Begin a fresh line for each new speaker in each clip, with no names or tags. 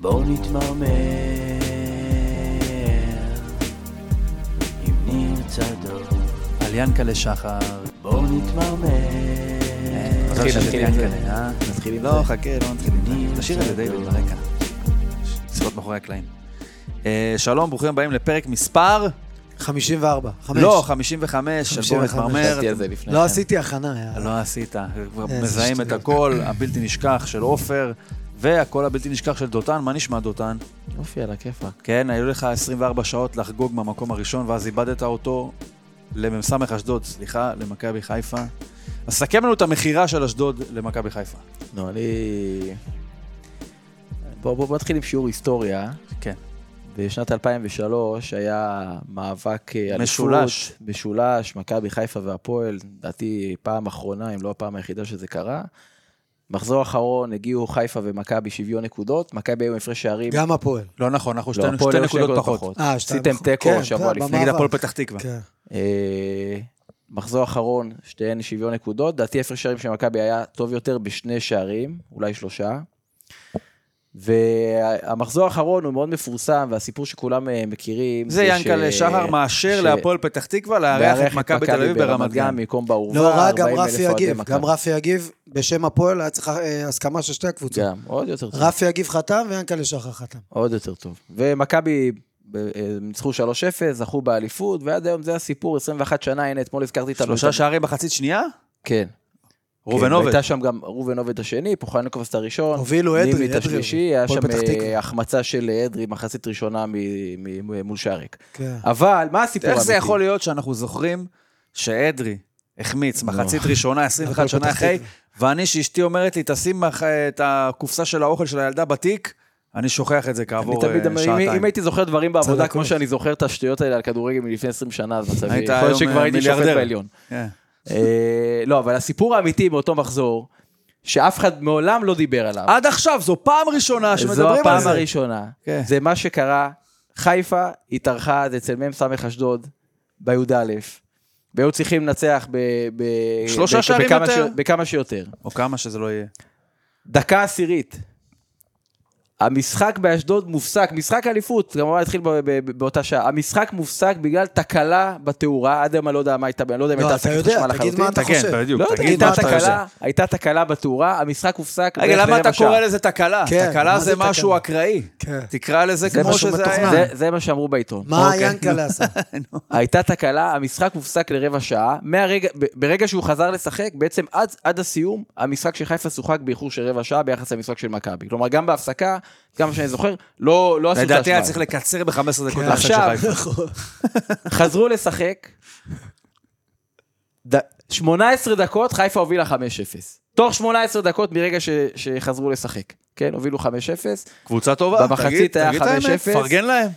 בואו נתמרמר עם ניר צדוק.
על ינקלה שחר.
בואו נתמרמר
מזל
כן,
שזה ינקלה, אה?
נתחיל עם
לא,
זה.
חכה, לא נתחיל עם
אני
זה. תשאיר את זה
בסדר.
דיוויד ברקע. שיחות מאחורי הקלעים. אה, שלום, ברוכים הבאים לפרק מספר...
54, חמש.
לא, 55, של בואו
55.
נתמרמר.
חשבתי על זה לפני
לא
כן.
עשיתי הכנה, יאללה.
לא עשית. כבר
איזה
מזהים את
שטויות.
הקול הבלתי נשכח של עופר, והקול הבלתי נשכח של דותן. מה נשמע, דותן?
יופי, על הכיפאק.
כן, היו לך 24 שעות לחגוג מהמקום הראשון, ואז איבדת אותו למ"ס אשדוד, סליחה, למכבי חיפה. אז סכם לנו את המכירה של אשדוד למכבי חיפה.
נו, לא, אני... בואו בוא, בוא נתחיל עם שיעור היסטוריה.
כן.
בשנת 2003 היה מאבק אה, אליפות.
משולש.
משולש, מכבי חיפה והפועל, לדעתי פעם אחרונה, אם לא הפעם היחידה שזה קרה. מחזור אחרון הגיעו חיפה ומכבי שוויון נקודות, מכבי היו עם הפרש שערים.
גם הפועל.
לא נכון, אנחנו
לא,
שתי
הפועל
שתי
היו
נקודות פחות.
אה, שתיים
עשיתם
פחות.
תיקו
כן,
שבוע
כן,
לפני.
במאבק.
נגד הפועל פתח תקווה.
כן.
אה, מחזור אחרון, שתיהן שוויון נקודות. דעתי הפרש שערים של מכבי היה טוב יותר בשני שערים, אולי שלושה. והמחזור האחרון הוא מאוד מפורסם, והסיפור שכולם אה, מכירים...
זה ינקלה
ש-
שחר מאשר
ש-
להפועל פתח תקווה לארח את מכבי תל אביב ברמת גן.
במקום באורווה,
לא רע, גם
40,000
רפי
אוהדי
יגיב.
מכבי.
גם רפי יגיב, בשם הפועל היה צריך אה, הסכמה של שתי הקבוצות.
גם, עוד יותר טוב.
רפי יגיב חתם ויענקלה שחר חתם.
עוד יותר טוב. ומכבי ב- אה, ניצחו 3-0, זכו באליפות, ועד היום זה הסיפור, 21 שנה, הנה, אתמול הזכרתי את
שלושה שערים מחצית שנייה?
כן. כן,
ראובן עובד.
והייתה שם גם ראובן עובד השני, פוחנקובס את הראשון,
הובילו אדרי,
נימי את
אדרי,
השלישי, היה
הפועל
שם
פתח
אה,
תקווה.
החמצה של אדרי, מחצית ראשונה מ- מ- מול שעריק.
כן.
אבל, מה הסיפור
איך
האמיתי?
זה יכול להיות שאנחנו זוכרים שאדרי החמיץ מחצית ראשונה, 21
הפועל
שנה
פתח
אחרי,
תקווה.
ואני, שאשתי אומרת לי, תשים מח- את הקופסה של האוכל של הילדה בתיק, אני שוכח את זה
אני
כעבור אה,
תמיד, אומר, אם-
שעתיים.
אם הייתי זוכר דברים בעבודה,
צדקות.
כמו שאני זוכר את השטויות האלה על כדורגל מלפני 20 שנה, אז מצבי,
היית
יכול להיות
היום,
שכבר
אה,
הייתי שופט
מיליארדר.
בעליון.
כן.
אה, לא, אבל הסיפור האמיתי באותו מחזור, שאף אחד מעולם לא דיבר עליו,
עד עכשיו, זו פעם ראשונה
זו
אה, שמדברים על
הפעם
זה.
הראשונה.
כן.
זה מה שקרה. חיפה התארחה אז אצל מ"ס אשדוד בי"א, והיו צריכים לנצח ב... ב
שלושה
ב-
שערים
בכמה
יותר.
ש- בכמה שיותר.
או כמה שזה לא יהיה.
דקה עשירית. המשחק באשדוד מופסק, משחק אליפות, כמובן התחיל ב- ב- ב- באותה שעה, המשחק מופסק בגלל תקלה בתאורה, עד היום אני לא יודע מה הייתה, אני לא יודע אם
לא,
הייתה
אתה
הפסקת
יודע,
חשמל
תגיד מה אתה
תגן,
חושב.
בדיוק,
לא,
תגיד
הייתה
מה אתה חושב.
תקלה, הייתה תקלה בתאורה, המשחק הופסק.
רגע,
בערך
למה אתה
ברבע שעה.
קורא לזה תקלה?
כן,
תקלה
מה
זה
זה תקלה?
משהו אקראי.
כן.
אוקיי.
תקרא לזה כמו
משהו
שזה
מתוכנן.
היה.
זה- זה מה שאמרו בעיתון.
מה
אוקיי.
יענקלה עשה?
הייתה תקלה, המשחק הופסק לרבע שעה. מהרגע, ב- ברגע שהוא חזר לשחק, בעצם עד, עד הסיום, המשחק של חיפה שוחק באיחור של רבע שעה ביחס למשחק של מכבי. כלומר, גם בהפסקה, גם מה שאני זוכר, לא, לא עשו את
לדעתי היה
ההשוואה.
צריך לקצר ב-15 דקות
כן,
לחשב
עכשיו.
חיפה.
נכון.
חזרו לשחק, ד... 18 דקות, חיפה הובילה 5-0. תוך 18 דקות מרגע ש... שחזרו לשחק. כן, הובילו 5-0.
קבוצה טובה,
במחצית
תגיד-
היה
תגיד את האמת,
5-0.
פרגן להם.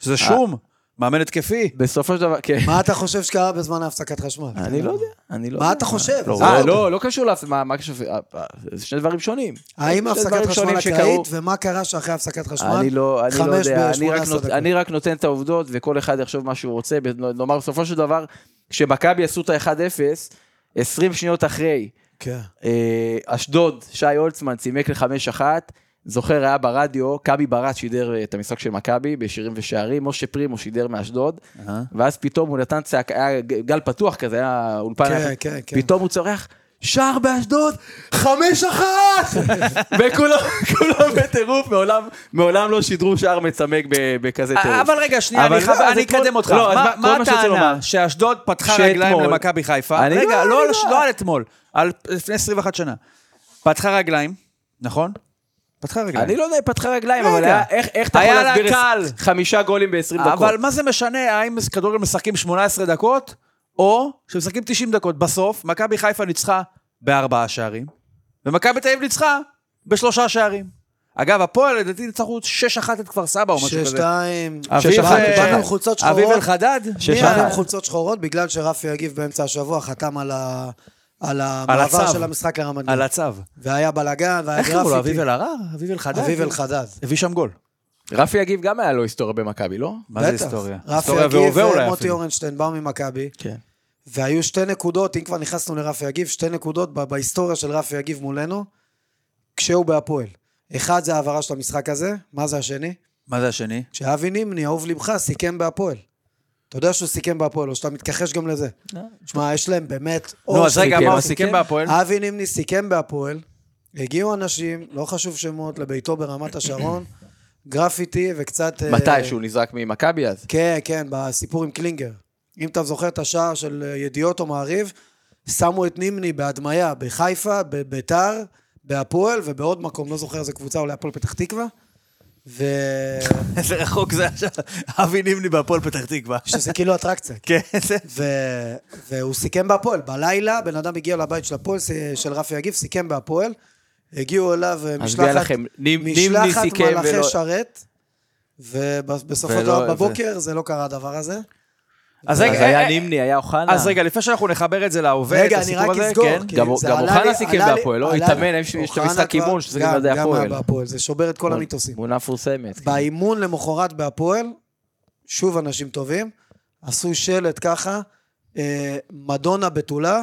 שזה שום, מאמן התקפי.
בסופו של דבר, כן.
מה אתה חושב שקרה בזמן ההפסקת חשמל?
אני לא יודע, אני לא
מה
יודע.
אתה חושב?
לא,
עזוב
אה,
אותו.
לא, לא קשור להפ... מה, מה קשור? אה, אה, זה שני דברים שונים.
האם
שני
הפסקת
דברים
חשמל
שונים שקרו.
אקראית, ומה קרה שאחרי הפסקת חשמל?
אני לא, אני לא
חמש
יודע, אני רק,
ב-18
נות,
דקות.
אני רק נותן את העובדות וכל אחד יחשוב מה שהוא רוצה. ב- נאמר, בסופו של דבר, כשמכבי עשו את ה-1-0, 20 שניות אחרי,
כן.
אה, אשדוד, שי הולצמן צימק ל-5-1, זוכר, היה ברדיו, קאבי ברט שידר אה, את המשחק של מכבי בשירים ושערים, משה פרימו שידר מאשדוד,
אהה.
ואז פתאום הוא נתן צעק, היה ג- גל פתוח כזה, היה אולפן,
כן,
היה-
כן, כן.
פתאום הוא צורח, שער באשדוד, חמש אחת! וכולם כולם בטירוף, מעולם- מעולם לא שידרו שער מצמק ב- בכזה טירוף.
אבל רגע, שנייה,
אבל
אני
לא,
חייב-
אז
אני
אתמול-
אקדם אותך.
לא, אז
מה-
מה- כל
מה
מה שרציתי
הטענה?
לומר-
שאשדוד פתחה
שאתמול-
רגליים למכבי חיפה.
אני-
רגע,
לא,
לא
אני
על-
לא.
לא על אתמול, על לפני 21 שנה. פתחה רגליים, נכון? פתחה רגליים.
אני לא יודע, פתחה רגליים, אבל
רגע.
היה- איך איך אתה יכול
היה לה
להסביר
קל.
עש- חמישה גולים ב-20 דקות?
אבל מה זה משנה האם כדורגל משחקים 18 דקות, או שמשחקים 90 דקות. בסוף, מכבי חיפה ניצחה בארבעה שערים, ומכבי תל אביב ניצחה בשלושה שערים. אגב, הפועל לדעתי ניצחו 6-1 את כפר סבא או משהו
שש,
כזה.
שתיים.
אביב,
באנו-
אה,
באנו עם חולצות שחורות.
אביב אלחדד?
שש-
מי
שחר.
היה עם חולצות שחורות? בגלל שרפי יגיב באמצע השבוע חתם על ה... על
הצו.
המעבר של המשחק לרמת גן.
על הצו.
והיה בלאגן, והיה
איך קראו לו? אביב
גרפיטי.
אלהרר? אביב אלחדד?
אביב אלחדד.
הביא שם גול.
רפי יגיב גם היה לו היסטוריה במכבי, לא?
מה זה
בטח.
היסטוריה?
רפי
היסטוריה
יגיב
והווה אולי
ומוטי
אפילו.
אורנשטיין באו ממכבי,
כן.
והיו שתי נקודות, אם כבר נכנסנו לרפי יגיב, שתי נקודות ב- בהיסטוריה של רפי יגיב מולנו, כשהוא בהפועל. אחד זה העברה של המשחק הזה, מה זה השני?
מה זה השני?
כשאבי נימני, אהוב לבך, סיכם בהפועל. אתה יודע שהוא סיכם בהפועל, או שאתה מתכחש גם לזה. תשמע, יש להם באמת...
נו, אז
של-
רגע,
סיכם,
מה הוא
מה
סיכם
סיכם?
בהפועל?
אבי נימני סיכם בהפועל, הגיעו אנשים, לא חשוב שמות, לביתו ברמת השרון, גרפיטי וקצת... אה,
מתי? שהוא נזרק ממכבי אז?
כן, כן, בסיפור עם קלינגר. אם אתה זוכר את השער של אה, ידיעות או מעריב, שמו את נימני בהדמיה בחיפה, בביתר, בהפועל ובעוד מקום, לא זוכר איזה קבוצה, אולי הפועל פתח תקווה. ו...
איזה רחוק זה עכשיו. אבי נימני בהפועל פתח תקווה.
שזה כאילו אטרקציה.
כן, זה...
ו... והוא סיכם בהפועל. בלילה בן אדם הגיע לבית של הפועל, ס- של רפי יגיב, סיכם בהפועל. הגיעו אליו אה,
אז דע
משלחת,
לכם, נימ- נימני
משלחת
סיכם
מלאכי
ולא...
שרת, ובסופו של
ולא-
דבר בבוקר זה לא קרה הדבר הזה.
אז
אז היה
רגע, אה,
נימני, היה אוחנה.
אז רגע, לפני שאנחנו נחבר את זה להווה, את
רגע, אני
הסיפור
רק
הזה,
אסגור.
כן.
כי
גם-
זה
גם
עלה
אוחנה
לי-
סיכם
עלה לי-
בהפועל, לא?
עלה לי-
התאמן, יש- יש את
אוחנה
המשחק
כבר-
אימון שצריך
גם-
לדעת
גם
הפועל.
היה בהפועל, זה שובר את כל המיתוסים.
תמונה מפורסמת.
באימון למחרת בהפועל, שוב אנשים טובים, עשו שלט ככה, אה, מדונה בתולה,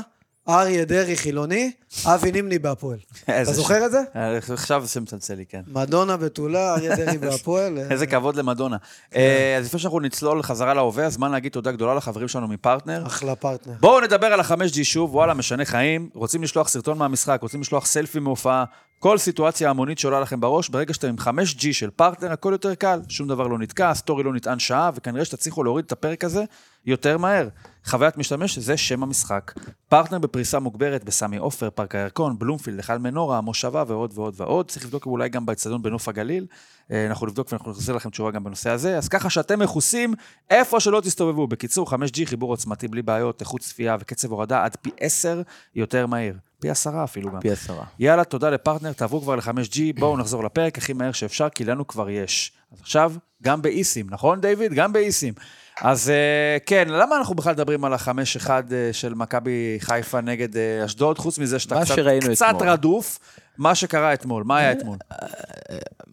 אריה דרעי חילוני, אבי נימני בהפועל. אתה
איזה
זוכר את זה?
ש- אה, עכשיו זה מצלצל לי, כן.
מדונה בתולה, אריה דרעי בהפועל. אה, כן.
איזה כבוד למדונה. אה, אז לפני שאנחנו נצלול חזרה להווה, הזמן להגיד תודה גדולה לחברים שלנו מפרטנר.
אחלה פרטנר.
בואו נדבר על ה-5G שוב, וואלה, משנה חיים. רוצים לשלוח סרטון מהמשחק, רוצים לשלוח סלפי מהופעה, כל סיטואציה המונית שעולה לכם בראש, ברגע שאתם עם 5G של פרטנר, הכל יותר קל, שום דבר לא נתקע, הסטורי לא נטען שעה, וכנראה שתצליחו להוריד את הפרק הזה יותר מהר. חוויית משתמש, זה שם המשחק. פרטנר בפריסה מוגברת בסמי עופר, פארק הירקון, בלומפילד, היכל מנורה, המושבה ועוד ועוד ועוד. צריך לבדוק אולי גם באצטדיון בנוף הגליל. אה, אנחנו נבדוק ואנחנו נחזיר לכם תשובה גם בנושא הזה. אז ככה שאתם מכוסים איפה שלא תסתובבו. בקיצור, 5G חיבור עוצמתי בלי בעיות, איכות צפייה וקצב הורדה עד פי 10 יותר מהיר. פי 10 אפילו גם.
פי עשרה.
יאללה, תודה לפרטנר, תעברו כבר ל-5G, בואו נחזור לפרק הכי מהר שאפשר, כי לנו כבר יש. אז עכשיו, גם באיסים, נכון, דיוויד? גם באיסים. אז אה, כן, למה אנחנו בכלל מדברים על החמש אחד אה, של מכבי חיפה נגד אה, אשדוד, חוץ מזה שאתה
מה
קצת,
שראינו
קצת
אתמול.
רדוף, מה שקרה אתמול, מה היה אתמול?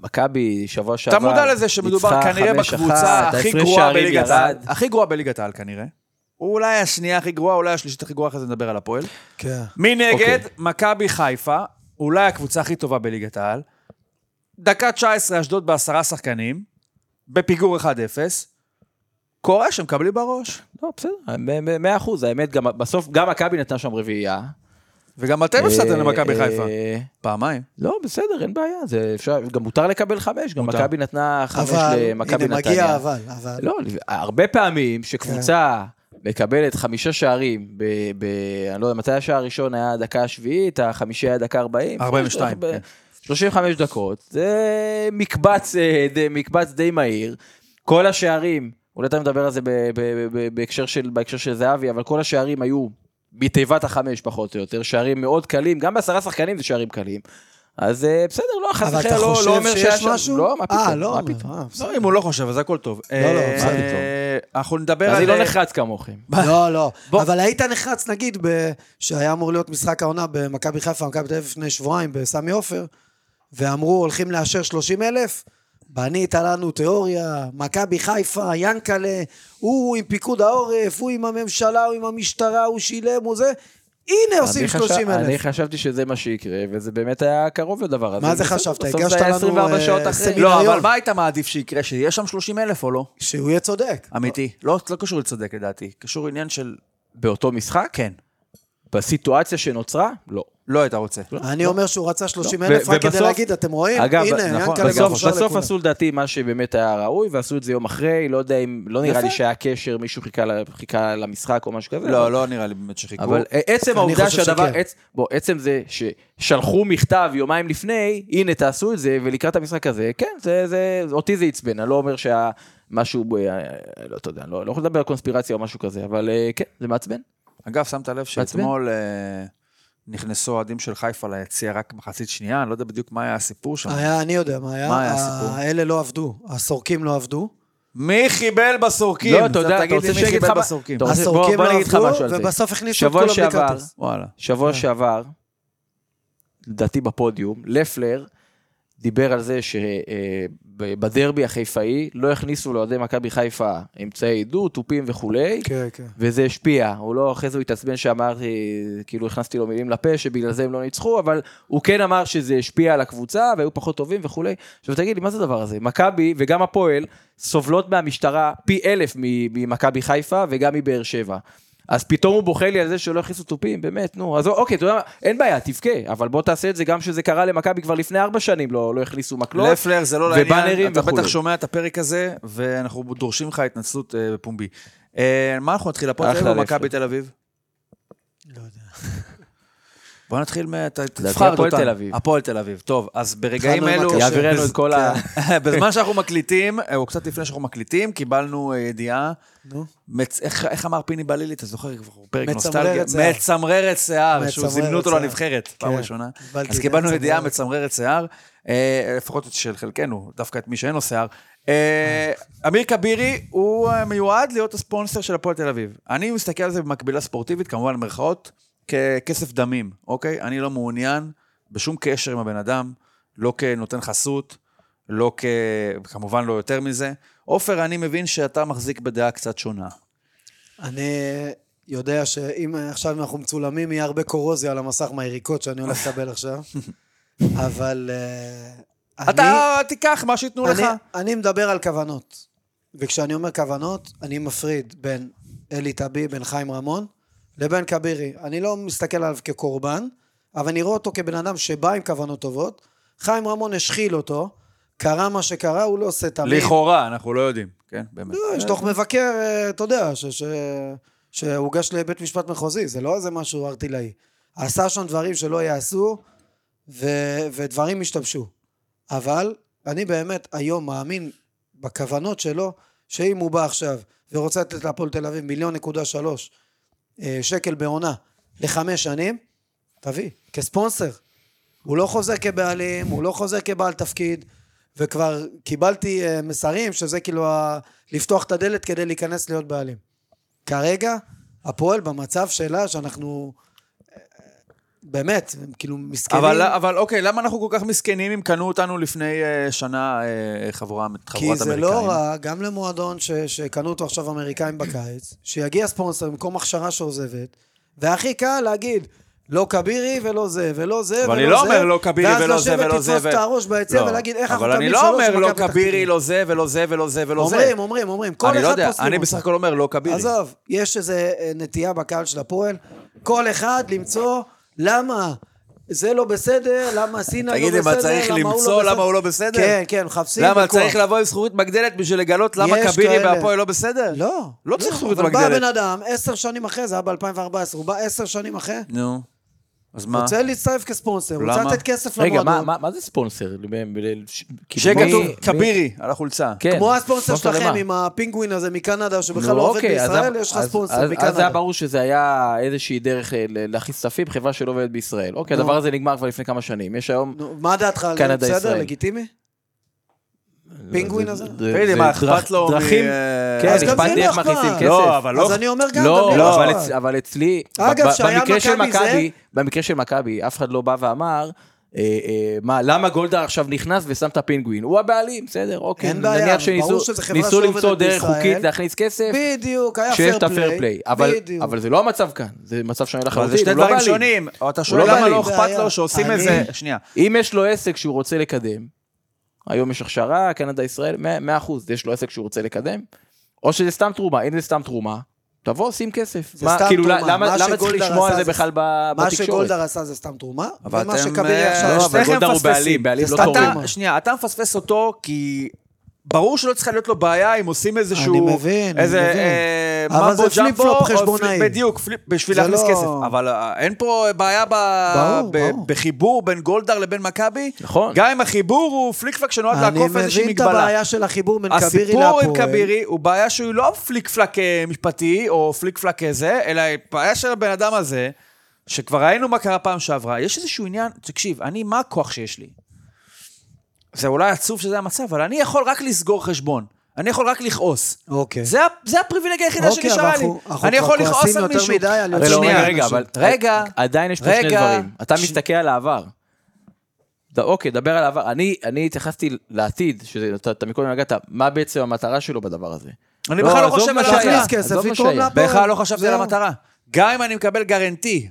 מכבי שבוע שעבר.
אתה מודע לזה שמדובר
ניצחה
כנראה
5-1,
בקבוצה הכי
ההפרש
גרועה
שערים
בליגת העל,
ירד.
הכי גרועה בליגת העל כנראה. אולי השנייה הכי גרועה, אולי השלישית הכי גרועה, אחרי זה נדבר על הפועל.
כן.
מנגד,
אוקיי.
מכבי חיפה, אולי הקבוצה הכי טובה בליגת העל, דקה 19 אשדוד בעשרה שחקנים, בפיגור 1-0, קורה שמקבלים בראש.
לא, בסדר, מ- מ- מאה אחוז, האמת, גם בסוף, גם מכבי נתנה שם רביעייה.
וגם אתם הפסדתם למכבי
אה,
חיפה.
אה,
פעמיים.
לא, בסדר, אין בעיה, זה אפשר, גם מותר לקבל חמש, גם
מותר.
מכבי נתנה חמש
אבל,
למכבי
הנה
נתניה.
מגיע אבל, אבל.
לא, הרבה פעמים שקבוצה
כן.
מקבלת חמישה שערים, ב, ב, אני לא יודע, מתי השער הראשון היה הדקה השביעית, החמישי היה דקה 40.
42,
ב-
כן.
35 דקות, זה מקבץ, אה, די- מקבץ די מהיר. כל השערים, אולי אתה מדבר על זה ב- ב- ב- ב- בהקשר של, בהקשר של זהבי, אבל כל השערים היו בתיבת החמש פחות או יותר, שערים מאוד קלים, גם בעשרה שחקנים זה שערים קלים. אז אה, בסדר, לא, חס
אבל
וחלילה
אתה
לא, לא
חושב
אומר שהיה
שיש
שם-
משהו?
לא, מה פתאום,
אה, לא,
מה פתאום.
אה, בסדר.
לא, אם הוא לא חושב, אז הכל טוב. לא,
לא, מה
אנחנו נדבר
אה,
על... אה,
אז אני לא נחרץ כמוכם.
לא, לא.
בוא.
אבל היית נחרץ, נגיד, ב- שהיה אמור להיות משחק העונה במכבי חיפה, מכבי תל אביב לפני שבועיים, בסמי עופר, ואמרו, הולכים לאשר 30 אלף, בנית לנו תיאוריה, מכבי חיפה, ינקלה, הוא עם פיקוד העורף, הוא עם הממשלה, הוא עם המשטרה, הוא שילם, הוא זה. הנה עושים
אני חשב-
30
אני
אלף.
חשבתי שזה מה שיקרה, וזה באמת היה קרוב לדבר הזה.
מה זה
בסדר,
חשבת?
בסוף זה
הגשת
היה
לנו,
24
אה,
שעות אחרי.
סמינר.
לא, אבל
מיליון.
מה היית מעדיף שיקרה? שיהיה שם 30 אלף או לא?
שהוא יהיה צודק.
אמיתי. לא לא קשור לצדק לדעתי, קשור עניין של...
באותו משחק?
כן.
בסיטואציה שנוצרה? לא.
לא היית רוצה.
אני אומר שהוא רצה 30
לא.
אלף
ו-
רק כדי
ובסוף-
להגיד, אתם רואים?
אגב,
הנה,
נכון,
ינקלה גם
בסוף-
אושר
בסוף
לכולם.
עשו לדעתי מה שבאמת היה ראוי, ועשו את זה יום אחרי, לא יודע אם, לא נראה
יפה.
לי שהיה קשר, מישהו חיכה ל- חיכה למשחק או משהו כזה.
לא,
אבל-
לא נראה לי באמת שחיכו.
אבל עצם
אני
העובדה
חושב
שהדבר,
שכן.
עצ- בוא, עצם זה ששלחו מכתב יומיים לפני, הנה תעשו את זה, ולקראת המשחק הזה, כן, זה, זה, אותי זה עצבן, אני לא אומר שהיה משהו, ב- אה, לא, אתה יודע, לא, לא יכול לדבר על קונספירציה או משהו כזה, אבל אה, כן, זה מעצבן.
אגב, שמת לב שאתמול אה, נכנסו אוהדים של חיפה ליציע רק מחצית שנייה, אני לא יודע בדיוק מה היה הסיפור שם.
אה,
היה, אני יודע מה היה.
מה היה הסיפור?
האלה לא עבדו, הסורקים לא עבדו.
מי חיבל
כן,
בסורקים?
לא, אתה יודע, אתה רוצה שאני אגיד לך מה-
בסורקים?
אתה רוצה-
הסורקים
בוא- בוא
לא
אני אגיד לך
עבדו,
משהו על זה.
ובסוף הכניסו את
שבוע
כולם בלי
שעבר,
כרטיס.
וואלה.
שבוע שעבר, לדעתי בפודיום, לפלר דיבר על זה שבדרבי החיפאי לא הכניסו לאוהדי מכבי חיפה אמצעי עידוד, תופים וכולי.
כן, כן.
וזה השפיע, הוא לא, אחרי זה הוא התעצבן שאמרתי, כאילו הכנסתי לו מילים לפה, שבגלל זה הם לא ניצחו, אבל הוא כן אמר שזה השפיע על הקבוצה, והיו פחות טובים וכולי. עכשיו תגיד לי, מה זה הדבר הזה? מכבי וגם הפועל סובלות מהמשטרה פי אלף מ- ממכבי חיפה וגם מבאר שבע. אז פתאום הוא בוכה לי על זה שלא הכניסו תופים, באמת, נו. אז אוקיי, אתה יודע מה, אין בעיה, תבכה, אבל בוא תעשה את זה גם שזה קרה למכבי כבר לפני ארבע שנים, לא, לא הכניסו מקלות.
לפלר, זה לא לעניין,
ובאנרים
אתה
וכולי.
בטח שומע את הפרק הזה, ואנחנו דורשים לך התנצלות אה, בפומבי. אה, מה אנחנו נתחיל, הפועל תל
אחלה
אביב או
לפלר.
מכבי תל אביב?
לא יודע.
בוא נתחיל מה... ת-
לדעתי
תבחר
הפועל
אותנו.
תל אביב.
הפועל תל אביב. טוב, אז ברגעים
התחלנו עם
אלו... כן.
הקשה.
יעביר לנו את כל ה...
בזמן שאנחנו מקליטים, אה, או קצת לפני שאנחנו מקליטים, קיבלנו אה, ידיעה.
נו.
מצ... איך, איך אמר פיני בלילי, אתה זוכר כבר, פרק
מצמררת
נוסטלגיה?
שיער.
מצמררת שיער, שהוא
מצמררת
זימנו אותו
שיער.
לנבחרת, פעם
כן.
ראשונה.
קיבלתי
אז
את
קיבלנו
מצמררת.
ידיעה מצמררת שיער, אה, לפחות את של חלקנו, דווקא את מי שאין לו שיער. אה, אמיר כבירי הוא אה, מיועד להיות הספונסר של הפועל תל אביב. אני מסתכל על זה במקבילה ספורטיבית, כמובן במרכאות, ככסף דמים, אוקיי? אני לא מעוניין בשום קשר עם הבן אדם, לא כנותן חסות, לא כ... כמובן לא יותר מזה. עופר, אני מבין שאתה מחזיק בדעה קצת שונה.
אני יודע שאם עכשיו אנחנו מצולמים, יהיה הרבה קורוזיה על המסך מהיריקות שאני הולך לקבל עכשיו. אבל אה, אני...
אתה תיקח מה שייתנו לך.
אני, אני מדבר על כוונות. וכשאני אומר כוונות, אני מפריד בין אלי טבי, בין חיים רמון, לבין כבירי. אני לא מסתכל עליו כקורבן, אבל אני רואה אותו כבן אדם שבא עם כוונות טובות. חיים רמון השחיל אותו, קרה מה שקרה, הוא לא עושה תמיד.
לכאורה, אנחנו לא יודעים. כן, באמת.
לא, יש דוח מבקר, אה, אתה יודע, ש- ש- שהוגש לבית משפט מחוזי, זה לא איזה משהו ערטילאי. עשה שם דברים שלא יעשו, ו- ודברים השתבשו. אבל אני באמת היום מאמין בכוונות שלו, שאם הוא בא עכשיו ורוצה לתת להפועל תל אביב מיליון נקודה שלוש אה, שקל בעונה לחמש שנים, תביא, כספונסר. הוא לא חוזר כבעלים, הוא לא חוזר כבעל תפקיד, וכבר קיבלתי אה, מסרים שזה כאילו ה... לפתוח את הדלת כדי להיכנס להיות בעלים. כרגע, הפועל במצב שלה שאנחנו... אה, באמת, הם כאילו מסכנים.
אבל, אבל אוקיי, למה אנחנו כל כך מסכנים אם קנו אותנו לפני אה, שנה אה, חבורה, חבורת
כי
אמריקאים?
זה לא רע, גם למועדון ש, שקנו אותו עכשיו אמריקאים בקיץ, שיגיע ספונסר במקום הכשרה שעוזבת, והכי קל להגיד, לא כבירי ולא זה, ולא זה, ולא זה.
אבל אני לא אומר לא כבירי ולא זה ולא זה.
ואז לשבת
ו-
לתפוס את הראש ביציע
לא.
ולהגיד, איך אנחנו
אבל אני
מקבלים
לא
שלוש
אומר
במכבי
לא
פתח
כבירי,
תקווה?"
לא זה ולא זה ולא זה ולא זה.
אומרים, אומרים, אומרים. כל
אני לא
אחד
יודע,
פוסלים
אני
אותו.
בסך הכל אומר לא כבירי.
עזוב, יש איזו נטייה בקהל של הפועל, כל אחד למצוא למה זה לא בסדר, למה סינה לא בסדר,
תגיד לי,
למה
מה
הוא לא בסדר.
צריך למצוא למה הוא לא בסדר?
כן, כן, מחפשים
למה,
בכוח.
צריך לבוא עם זכורית מגדלת בשביל לגלות למה
יש
כבירי
כאלה.
והפועל לא בסדר?
לא.
לא צריך זכוכית
אבל בא
מגדלת.
בן אדם, עשר שנים אחרי, זה היה ב-2014, הוא בא עשר שנים אחרי,
נו, אז מה?
רוצה להצטרף כספונסר, הוא רוצה
למה?
לתת כסף
רגע, מה-
למועדון.
מה מה זה ספונסר? ב- ב- ש- כאילו,
שיהיה
מי-
כתוב
מי-
כבירי על החולצה.
כן.
כמו הספונסר
ספונסר
שלכם
למה?
עם הפינגווין הזה מקנדה, שבכלל
נו,
לא עובד
אוקיי, אז
בישראל,
למה-
יש לך
אז-
ספונסר
אז- אז זה היה
מקנדה.
ברור שזה היה איזושהי דרך אה, ל- להכניס כספים, חברה שלא עובדת בישראל. אוקיי,
נו.
הדבר הזה נגמר כבר לפני כמה שנים. יש היום...
נו, מה דעתך על זה?
קנדה,
בסדר,
ישראל.
לגיטימי? פינגווין הזה?
תגיד לי, מה, אכפת לו מ-
דרכים?
אה,
כן,
אז גם
אכפת
זה
לי
לא
איך
אכפת.
מכניסים כסף.
לא, אבל לא...
אז אני אומר גם, גם לי
לא, אבל
אכפת.
אצ- אבל אצלי,
אגב,
ב- ב-
שהיה
במקרה של
מכבי זה-
מכבי, במקרה של מכבי, אף אחד לא בא ואמר, אה, אה, מה, למה גולדהר עכשיו נכנס ושם את הפינגווין? הוא הבעלים, בסדר, אוקיי.
אין בעיה,
נניח
ברור
שניסו-
שזה חברה
ניסו
שעובדת
למצוא דרך
בישראל.
חוקית להכניס כסף,
בדיוק, היה
שיש את
פייר
הפייר
פליי.
פליי. אבל,
אה, בדיוק.
אבל זה לא המצב כאן, זה מצב שונה
אבל זה
לחלוטין,
שני
הוא לא
דברים
בעלים.
שונים. אתה שואל
לא
למה
בעלים.
לא אכפת
בעיה.
לו שעושים
אני-
איזה... שנייה.
אם יש לו עסק שהוא רוצה לקדם, היום יש הכשרה, קנדה, ישראל, 100 אחוז, יש לו עסק שהוא רוצה לקדם, או שזה סתם תרומה, אם זה סתם תרומה, תבוא, שים כסף.
זה סתם
כאילו,
תרומה,
למה,
מה
למה צריך
שגולדהר
לשמוע על
עשה
זה
זה-
בכלל ב-
מה
בתקשורת?
שגולדהר עשה זה סתם תרומה,
אבל
ומה
אתם,
שכבירי
אה,
עכשיו...
לא,
אבל
שניכם
גולדהר הוא
מפספסים.
בעלים, בעלים
זה
לא
סתם
תורם.
תרומה.
שנייה, אתה מפספס אותו כי... ברור שלא צריכה להיות לו בעיה אם עושים איזשהו...
אני מבין, אני
איזה,
מבין.
אה,
אבל
ממבו
זה פליפ
ג'מבו,
פלופ
או פליפ-
חשבונאי.
בדיוק, פליפ- בשביל
זה
להכניס
לא-
כסף. אבל אה, אין פה בעיה ב-
ברור,
ב-
ברור.
בחיבור בין גולדהר לבין מכבי.
נכון.
גם אם החיבור הוא פליק פלק שנועד לעקוף איזושהי
אני מבין את
מגבלה.
הבעיה של החיבור בין כבירי
הסיפור
להפועל.
עם כבירי הוא בעיה שהוא לא פליק פלק אה, משפטי או פליק פלק אה, זה, אלא בעיה של הבן אדם הזה, שכבר ראינו מה קרה פעם שעברה. יש איזשהו עניין, תקשיב, אני, מה הכוח שיש לי? זה אולי עצוב שזה המצב, אבל אני יכול רק לסגור חשבון. אני יכול רק לכעוס.
אוקיי.
זה, ה- זה הפריבילגיה היחידה
אוקיי,
שנשארה
אבל
לי.
אנחנו- אנחנו
אני
כבר
יכול לכעוס
כועסים
על
יותר
מישהו.
מדי על
אבל
לא, רגע,
שנייה,
רגע,
אנשים.
אבל
רגע,
עדיין יש פה שני
רגע,
דברים. אתה
ש-
מסתכל עליו, עבר. ד- אוקיי, דבר על העבר. אני, אני התייחסתי לעתיד, שאתה אתה מקודם נגעת, מה בעצם המטרה שלו בדבר הזה.
אני בכלל לא
עזוב
חושב
מה
על
שהיה,
שהיה.
שיכניס כסף,
עזוב מה
יתרום
שהיה.
לה.
בכלל לא חשבתי על
זהו.
המטרה. גם אם אני מקבל גרנטי,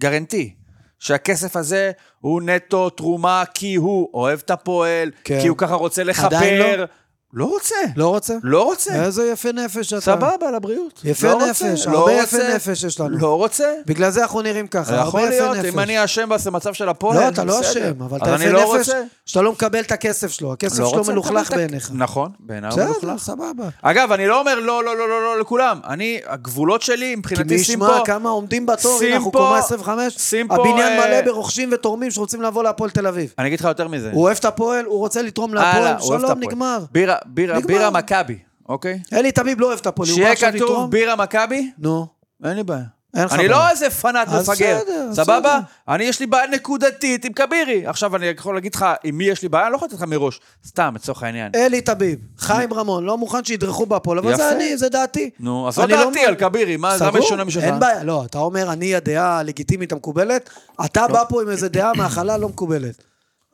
גרנטי, שהכסף הזה הוא נטו תרומה כי הוא אוהב את הפועל,
כן.
כי הוא ככה רוצה
עדיין
לחבר. לא רוצה.
לא רוצה?
לא רוצה.
איזה יפה נפש אתה.
סבבה, לבריאות.
יפה
לא
נפש,
רוצה,
הרבה
לא
יפה
רוצה,
נפש יש לנו.
לא רוצה.
בגלל זה אנחנו נראים ככה, הרבה
יכול להיות,
יפה נפש.
אם אני אשם במצב של הפועל,
לא, אתה לא
בסדר.
אשם, אבל אתה
אז אני
יפה
לא
נפש
רוצה.
שאתה לא מקבל את הכסף שלו, הכסף
לא
שלו
רוצה
מלוכלך
לקבל את הכ-
בעיניך.
נכון, בעיניי הוא
בסדר,
מלוכלך.
סבבה.
אגב, אני לא אומר לא, לא, לא, לא, לא לכולם. אני, הגבולות שלי,
כי מי
מבחינתי שים
ישמע
פה...
כמה עומדים בתור,
שים
הנה אנחנו
פה-
קומה 25,
שים פה,
הבניין
אה,
מלא ברוכשים ותורמים שרוצים לבוא להפועל תל אביב.
אני אגיד לך יותר מזה.
הוא אוהב את הפועל, הוא רוצה לתרום
הלאה,
להפועל,
הוא אוהב את
שלום,
הפועל.
נגמר.
בירה, בירה,
נגמר.
בירה מכבי, אוקיי?
אלי תמיב לא אוהב את הפועל, הוא בא
שיהיה
עכשיו לתרום.
כתוב בירה מכבי,
נו,
אין לי בעיה.
אין לך
אני
בעיה.
לא איזה פנאט
אז
מפגר,
בסדר,
סבבה? אני יש לי בעיה נקודתית עם כבירי. עכשיו אני יכול להגיד לך עם מי יש לי בעיה, אני לא יכול לתת לך מראש, סתם, לצורך העניין.
אלי תביב, חיים רמון, לא מוכן שידרכו בהפועל, אבל זה
יפה.
אני, זה דעתי.
נו, אז זו
אני לא
דעתי
מ-
על כבירי, מה למה
סגור,
שונה משלך?
אין בעיה, לא, אתה אומר, אני הדעה הלגיטימית המקובלת,
לא.
אתה בא פה עם איזה דעה מהחלל לא מקובלת.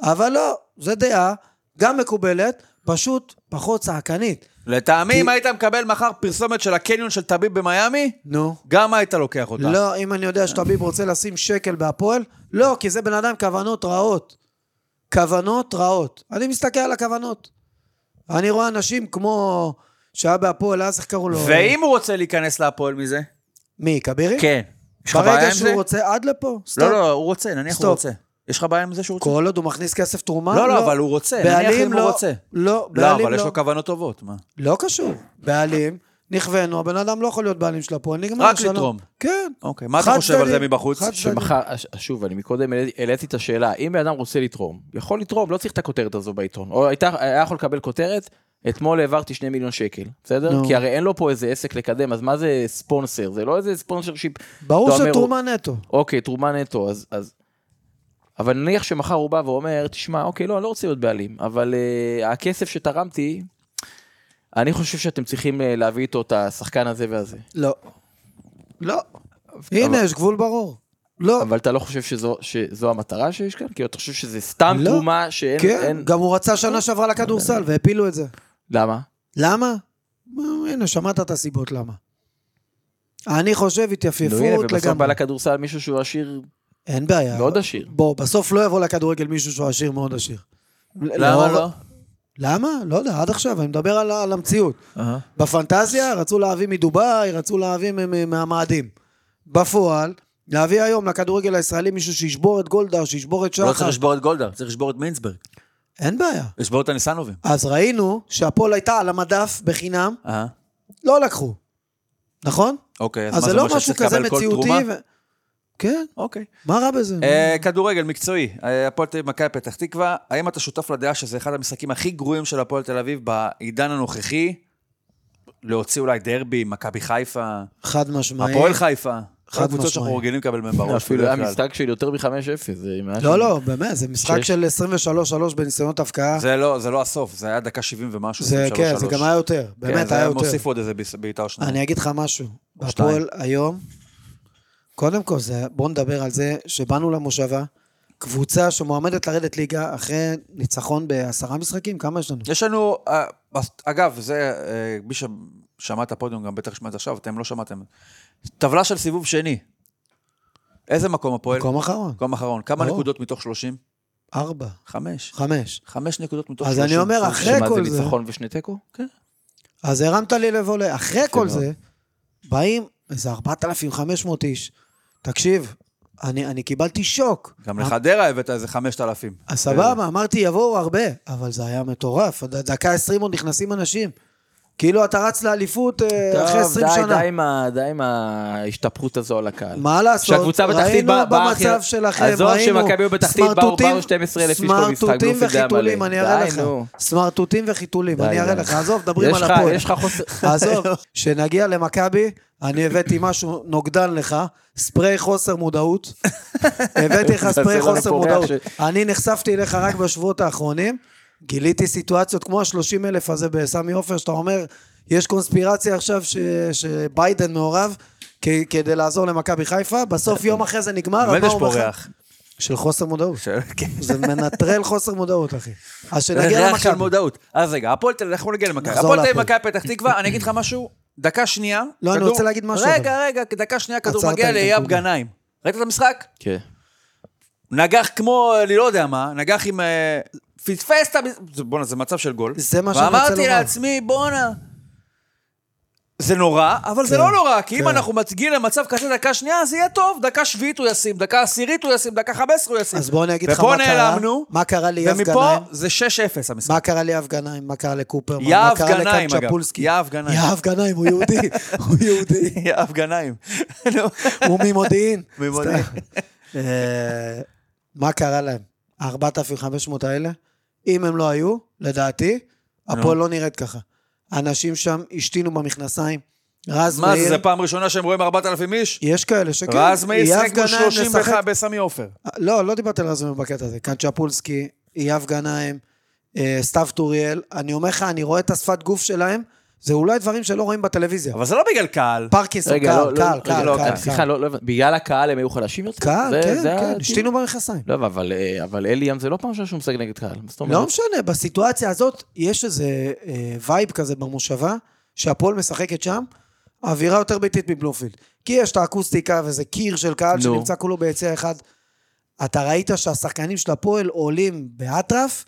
אבל לא, זו דעה, גם מקובלת, פשוט פחות צעקנית.
לטעמי, אם היית מקבל מחר פרסומת של הקניון של טביב במיאמי,
נו.
גם היית לוקח אותה.
לא, אם אני יודע שטביב רוצה לשים שקל בהפועל, לא, כי זה בן אדם עם כוונות רעות. כוונות רעות. אני מסתכל על הכוונות. אני רואה אנשים כמו שהיה בהפועל, אז איך קראו לו?
ואם הוא רוצה להיכנס להפועל מזה?
מי, כבירי?
כן. יש לך בעיה עם
ברגע
זה?
שהוא רוצה, עד לפה. סטופ.
לא, לא, הוא רוצה, נניח הוא
סטופ.
רוצה. יש לך בעיה עם זה שהוא רוצה?
כל עוד הוא מכניס כסף תרומה?
לא, לא, אבל הוא רוצה, נניח
בעלים
אם הוא
לא-
רוצה.
לא,
לא,
בעלים
אבל
לא.
יש לו כוונות טובות, מה?
לא קשור. בעלים, נכווינו, הבן אדם לא יכול להיות בעלים של הפועל, נגמר.
רק
שלום.
לתרום.
כן.
אוקיי, מה אתה
חד
חושב על זה
צדדי,
מבחוץ?
חד צדדי.
שמחר, אה, ש- שוב, אני מקודם העליתי- העליתי את השאלה, אם בן אדם רוצה לתרום, יכול לתרום, לא צריך את הכותרת הזו בעיתון. או הייתה, היה יכול לקבל כותרת, אתמול העברתי שני מיליון שקל, בסדר?
נו.
כי הרי אין לו פה איזה עסק לקדם, אז מה זה ספונסר? זה לא איזה ספונסר שיפ...
ברור
אתה אומר,
שתרומה נטו.
אוקיי, תרומה נטו, אז... אז... אבל נניח שמחר הוא בא ואומר, תשמע, אוקיי, לא, אני לא רוצה להיות בעלים, אבל uh, הכסף שתרמתי, אני חושב שאתם צריכים uh, להביא איתו את השחקן הזה והזה.
לא. לא. הנה, יש גבול ברור. לא.
אבל אתה לא חושב שזו, שזו המטרה שיש כאן? כאילו, אתה חושב שזה סתם
לא.
תרומה שאין...
כן,
אין...
גם הוא רצה שנה שעברה לכדורסל והפילו את זה.
למה?
למה? מה, הנה, שמעת את הסיבות למה. אני חושב
נו, הנה,
התייפייפות
ובסוף בא
לגמרי.
לכדורסל מישהו שהוא עשיר
אין בעיה.
מאוד עשיר.
בוא, בסוף לא יבוא לכדורגל מישהו שהוא עשיר מאוד עשיר.
למה לא?
למה? לא יודע, עד עכשיו, אני מדבר על, על המציאות.
אהה.
בפנטזיה רצו להביא מדובאי, רצו להביא מ- מ- מהמאדים. בפועל, להביא היום לכדורגל הישראלי מישהו שישבור את גולדהר, שישבור את
לא צריך
שחר.
לשבור את גולדהר, צריך לשבור את מינסברג.
אין בעיה.
לשבור את הניסנובים.
אז ראינו שהפועל הייתה על המדף בחינם,
אהה.
לא לקחו. נכון?
אה, אוקיי, אז מה
אז זה
זה
לא
אומר
משהו
שצריך
כזה
לקבל כל
מציאותי.
תרומה?
ו- כן,
אוקיי.
מה רע בזה?
אה, כדורגל מקצועי, אה, הפועל תל אביב, מכבי פתח תקווה, האם אתה שותף לדעה שזה אחד המשחקים הכי גרועים של הפועל תל אביב בעידן הנוכחי? להוציא אולי דרבי, מכבי חיפה,
חד משמעית.
הפועל חיפה.
חד
חד קבוצות שאנחנו
משמעית.
רגילים לקבל מהן בראש.
אפילו היה
בדרך כלל.
משחק לא? של יותר מ-5-0. זה אם היה שם-
לא, לא, באמת, זה משחק
שש.
של 23-3 בניסיונות הבקעה.
זה לא, זה לא הסוף, זה היה דקה 70 ומשהו,
זה,
23-3.
כן, זה גם היה יותר.
כן,
באמת,
זה
היה יותר.
מוסיף עוד איזה ביס- בעיטה או שניים.
אני אגיד לך משהו.
שתיים.
בהפועל היום, קודם כל, זה, בוא נדבר על זה שבאנו למושבה, קבוצה שמועמדת לרדת ליגה אחרי ניצחון בעשרה משחקים, כמה יש לנו?
יש לנו, אה, אז- אגב, זה, אה, מי ששמע את הפודיום גם בטח שמע את זה עכשיו, אתם לא שמעתם. טבלה של סיבוב שני. איזה מקום הפועל?
מקום אחרון,
מקום אחרון. כמה
ברור.
נקודות מתוך 30?
ארבע,
חמש.
חמש.
חמש נקודות מתוך
אז
30.
אני אומר, אחרי
שמה זה
כל זה,
ניצחון ושני תיקו? כן.
אז הרמת לי לבולה,
כן,
אחרי כל
מאוד.
זה, באים איזה 4,500 איש. תקשיב, אני, אני קיבלתי שוק.
גם לחדרה הבאת איזה 5,000.
אז סבבה, אמרתי, יבואו הרבה, אבל זה היה מטורף. עד דקה 20 עוד נכנסים אנשים. כאילו אתה רץ לאליפות אה,
טוב,
אחרי 20
לא, די,
שנה.
די עם ה- די עם ההשתפכות הזו על הקהל.
מה לעשות?
שהקבוצה בתחתית באה-
ראינו
באה
במצב
הכי-
שלכם, ראינו.
עזוב שמכבי היו בתחתית, באו-
סמרטוטים-
באו 12,000 איש פה במשחק,
סמרטוטים
באופן די מלא.
וחיתולים, אני אראה
די,
לך.
נו.
סמרטוטים וחיתולים,
די,
אני אראה
די.
לך. עזוב, מדברים
יש
על
לך-
הפועל.
יש לך חוסר...
עזוב, כשנגיע למכבי, אני הבאתי משהו נוגדן לך, ספרי חוסר מודעות. הבאתי לך
תעשה
ספרי
לנו
חוסר
פה ריח
מודעות.
ש-
אני נחשפתי אליך רק בשבועות האחרונים, גיליתי סיטואציות כמו ה-30 אלף הזה בסמי עופר, שאתה אומר, יש קונספירציה עכשיו ש- שביידן מעורב. כ- כדי לעזור למכבי חיפה, בסוף יום אחרי זה נגמר,
באמת
אז מה
יש
הוא
פה
אומר לך?
ריח.
של חוסר מודעות.
כן.
זה מנטרל חוסר מודעות, אחי. אז שנגיע
ריח של
למכבי.
מודעות. אז רגע, הפועל תל אביב, אנחנו נגיע למכבי.
נחזור
הפועל תל אביב,
להפועל.
מכבי פתח תקווה, אני אגיד לך משהו, דקה שנייה.
לא, אני
כדור-
רוצה להגיד משהו,
רגע, רגע, דקה שנייה, כדור
עצרת
מגיע
לי את
לאייב
הנקודה.
גנאים. ראית את המשחק?
כן.
נגח כמו, אני לא יודע מה, נגח עם... אה, פספס את המס... זה- בואנה, זה מצב של גול.
זה מה שאני רוצה
ואמרתי
לומר.
לעצמי, בואנה. זה נורא, אבל זה
כן,
לא נורא, כי אם
כן.
אנחנו מצגיעים למצב כזה דקה שנייה, זה יהיה טוב. דקה שביעית הוא ישים, דפה עשירית הוא ישים, דקה חמש עשרה הוא ישים.
אז בוא אני אגיד לך מה
ופה
קרה.
נעלמנו,
מה קרה ליאב
ומפה
גנאים?
זה 6-0 המשחק.
מה קרה ליאב גנאים? מה קרה לקופרמן?
יהב
מה קרה
גנאים, אגב.
לקפצ'פולסקי?
יהב גנאים.
יהב גנאים, הוא יהודי. הוא יהודי.
יהב גנאים.
הוא ממודיעין.
ממודיעין.
סתם. אה, מה קרה להם? 4,500 האלה, אם הם לא היו, לדעתי, הפועל לא נראית ככה. אנשים שם השתינו במכנסיים. רז
מה זה,
מאיר,
זה פעם ראשונה שהם רואים 4,000 איש?
יש כאלה שכן.
ואז מאיר
אייב
שיחק בו
גנאים
31
לשחק-
בסמי עופר.
לא, לא דיברתי על רז מאיר בקטע הזה. קנצ'פולסקי, אייב גנאים, אה, סתיו טוריאל. אני אומר לך, אני רואה את השפת גוף שלהם, זה אולי דברים שלא רואים בטלוויזיה.
אבל זה לא בגלל קהל.
פרקינסון,
רגע,
קהל,
לא,
קהל,
לא, רגע,
קהל,
לא,
קהל,
סליחה,
קהל.
לא, לא הבנתי. בגלל הקהל הם היו חלשים יותר?
קהל,
זה-
כן,
זה
כן,
הטיעון.
השתינו במכנסיים.
לא, אבל, אה, אבל אלי ים זה לא פעם ראשונה שהוא משחק נגד קהל. מה זאת אומרת?
לא משנה, בסיטואציה הזאת יש איזה אה, וייב כזה במושבה, שהפועל משחקת שם, אווירה יותר ביתית מבלומפילד. כי יש את האקוסטיקה וזה קיר של קהל
נו.
שנמצא כולו ביציע אחד. אתה ראית שהשחקנים של הפועל עולים באטרף,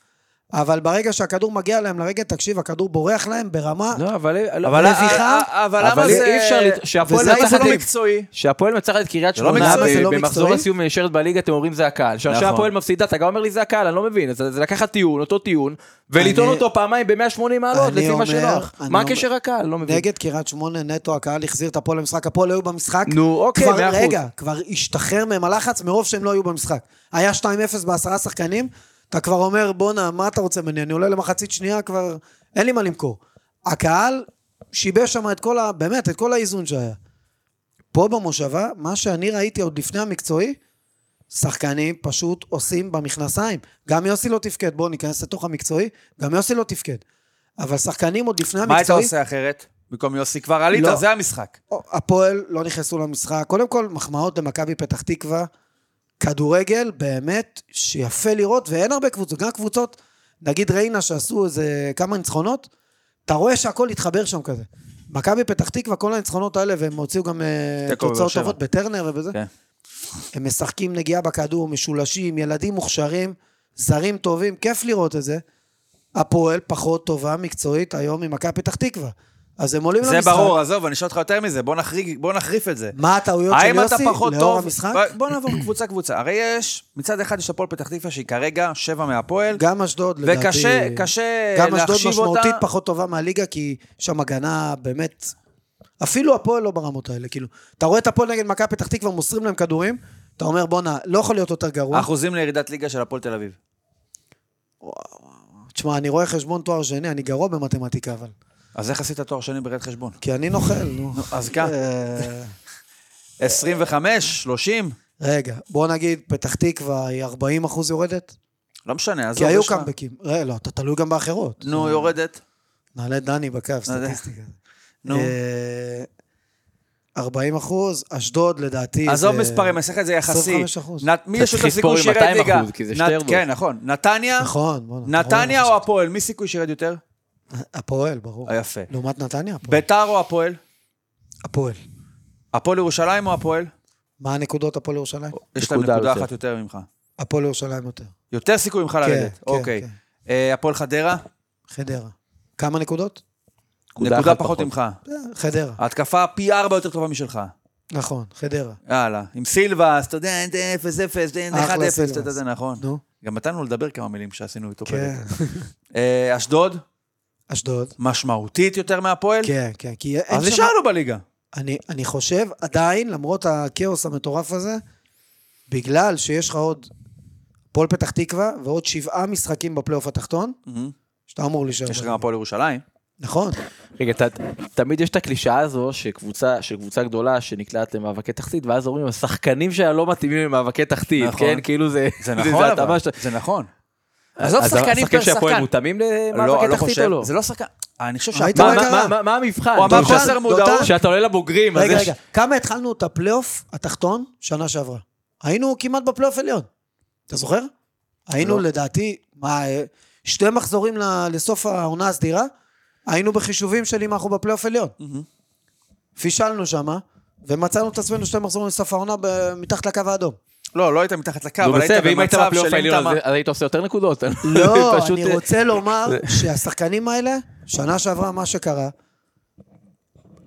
אבל ברגע שהכדור מגיע להם לרגע, תקשיב, הכדור בורח להם ברמה...
לא, אבל...
אבל
מביכה,
אה, אבל למה
אבל
זה...
אי אפשר... לת- שהפועל
וזה למה זה
מנצחת
לא
את-
מקצועי.
שהפועל מנצחת את קריית
זה לא
שמונה
מקצועי.
ב-
זה
לא
במחזור
מקצועי?
הסיום נשארת בליגה, אתם אומרים זה הקהל. שעכשיו
נכון.
הפועל מפסידה, אתה גם אומר לי זה הקהל, אני לא מבין. אז זה לקחת טיעון, אותו טיעון, ולטעון
אני-
אותו פעמיים ב-180 מעלות,
אני
לפי מה
אומר-
שנוח.
אני
מה
אומר-
הקשר הקהל? לא מבין.
נגד קריית שמונה נטו, הקהל החזיר את הפועל למשחק, הפועל היו במשחק.
נו, אוקיי,
כבר,
מאה אחוז.
רגע, כבר השתחרר מהם הלחץ מרוב שהם לא היו במשחק. היה 2-0 בעשרה שחקנים, אתה כבר אומר, בואנה, מה אתה רוצה ממני? אני עולה למחצית שנייה, כבר אין לי מה למכור. הקהל שיבש שם את כל ה... באמת, את כל האיזון שהיה. פה במושבה, מה שאני ראיתי עוד לפני המקצועי, שחקנים פשוט עושים במכנסיים. גם יוסי לא תפקד, בואו ניכנס לתוך המקצועי, גם יוסי לא תפקד. אבל שחקנים עוד לפני המקצועי...
מה היית עושה אחרת? במקום יוסי כבר עלית,
לא.
זה המשחק.
הפועל לא נכנסו למשחק. קודם כל, מחמאות למכבי פתח תקווה. כדורגל, באמת, שיפה לראות, ואין הרבה קבוצות. גם קבוצות, נגיד ריינה, שעשו איזה כמה ניצחונות, אתה רואה שהכל התחבר שם כזה. מכבי פתח תקווה, כל הניצחונות האלה, והם הוציאו גם אה,
תיקו בבאר
תוצאות
שבע.
טובות בטרנר ובזה.
כן.
הם משחקים נגיעה בכדור, משולשים, ילדים מוכשרים, זרים טובים, כיף לראות את זה. הפועל פחות טובה מקצועית היום ממכבי פתח תקווה. אז הם עולים
זה
למשחק.
ברור, עזוב, אני אשאל אותך יותר מזה, בוא נחריג- בוא נחריף את זה.
לא מה הטעויות של
האם אתה
יוסי
פחות
לאור
טוב?
המשחק?
ב- בוא נעבור קבוצה-קבוצה. הרי יש, מצד אחד יש הפועל פתח תקווה שהיא כרגע שבע מהפועל,
גם אשדוד, לדעתי...
וקשה קשה
גם אשדוד
להחשיב אותה.
משמעותית פחות טובה מהליגה, כי שם הגנה באמת... אפילו הפועל לא ברמות האלה, כאילו. אתה רואה את הפועל נגד מכבי פתח תקווה, מוסרים להם כדורים, אתה אומר, בואנה, לא יכול להיות יותר גרוע.
אחוזים לירידת ליגה של הפועל תל אביב.
תשמע, אני רואה חשבון תואר שני, אני גרוע במתמטיקה, אבל...
אז איך עשית תואר שני בראיית חשבון?
כי אני נוכל, נו.
אז כן, ככה.
אה,
25, 30?
רגע, בוא נגיד, פתח תקווה היא 40 אחוז יורדת?
לא משנה, עזוב.
כי היו
יש לך-
קאמבקים. רגע, לא, אתה תלוי גם באחרות.
נו, יורדת.
נעלה את דני בקו, סטטיסטיקה.
נו.
אה, 40 אחוז, אשדוד לדעתי.
עזוב
זה-
מספרים, אני אעשה לך את זה יחסי.
25%.
נת- מי יש יותר סיכוי
תתחיל לספור עם
שירד
200%,
ליגה?
כי זה
נת-
שתי ערבויות.
כן, נכון. נתניה?
נכון, בוא'נה, אתה
נתניה
רואה,
או הפועל? מי סיכוי שירד יותר?
הפועל, ברור.
אה, יפה.
לעומת נתניה, הפועל.
ביתר או הפועל?
הפועל.
הפועל ירושלים או הפועל?
מה הנקודות הפועל ירושלים?
יש להם
נקודה
נקודה
יותר.
אחת יותר ממך.
הפועל ירושלים יותר.
יותר סיכוי ממך לרדת.
כן,
אוקיי.
כן.
אה, הפועל חדרה?
חדרה. כמה נקודות?
נקודה
נקודה
אחת
פחות
פחות.
ממך.
אה, חדרה.
ההתקפה פי ארבע יותר טובה משלך.
נכון, חדרה.
יאללה. עם סילבה, אז אתה יודע, אין זה 0-0, אין 1-0,
אחלה
אתה יודע,
סילבס.
זה נכון.
נו,
גם נתנו לו לדבר כמה מילים שעשינו איתו
כן.
פרק. אה, אשדוד,
אשדוד.
משמעותית יותר מהפועל?
כן, כן, כי אין
אז
שם...
נשארנו בליגה.
אני, אני חושב, עדיין, למרות הכאוס המטורף הזה, בגלל שיש לך עוד הפועל פתח תקווה ועוד שבעה משחקים בפלייאוף התחתון,
מהמם.
שאתה אמור להישאר.
יש לך
בליגה.
גם הפועל ירושלים.
נכון.
רגע, ת, תמיד יש את הקלישאה הזו שקבוצה, שקבוצה גדולה שנקלעת למאבקי תחתית, ואז אומרים, השחקנים שלה לא מתאימים למאבקי תחתית,
נכון.
נכון. כן? כאילו זה...
זה נכון,
התאמה
אבל.
של-
זה נכון.
אז
עזוב שחקנים פר
השחקנים של הפועל
שחקן.
מותאמים
לא,
למאבקי
לא
תחתית או
חושב.
לא?
זה לא שחקן. אני חושב
ראית
שהפועל-
מה-
מה
מה-
קרה?
מה- מה המבחן?
הוא אמר
כאילו,
חוסר
שאתה-
מודעות.
שאתה עולה לבוגרים, אז
רגע,
יש...
רגע, כמה התחלנו את הפלייאוף התחתון שנה שעברה? היינו כמעט בפלייאוף עליון. אתה זוכר? היינו
לא.
לדעתי, מה, אה, שתי מחזורים ל- לסוף העונה הסדירה, היינו בחישובים של אם אנחנו בפלייאוף עליון. פישלנו שמה, ומצאנו את עצמנו שתי מחזורים לסוף העונה ב- מתחת לקו האדום.
לא, לא היית מתחת לקו,
נו,
אבל היית
בסדר, ואם היית
במצב
בפלייאוף
של אם אתה...
העליון, אז
מה-
אז היית עושה יותר נקודות.
לא,
פשוט,
אני
אה,
רוצה לומר שהשחקנים האלה, שנה שעברה מה שקרה,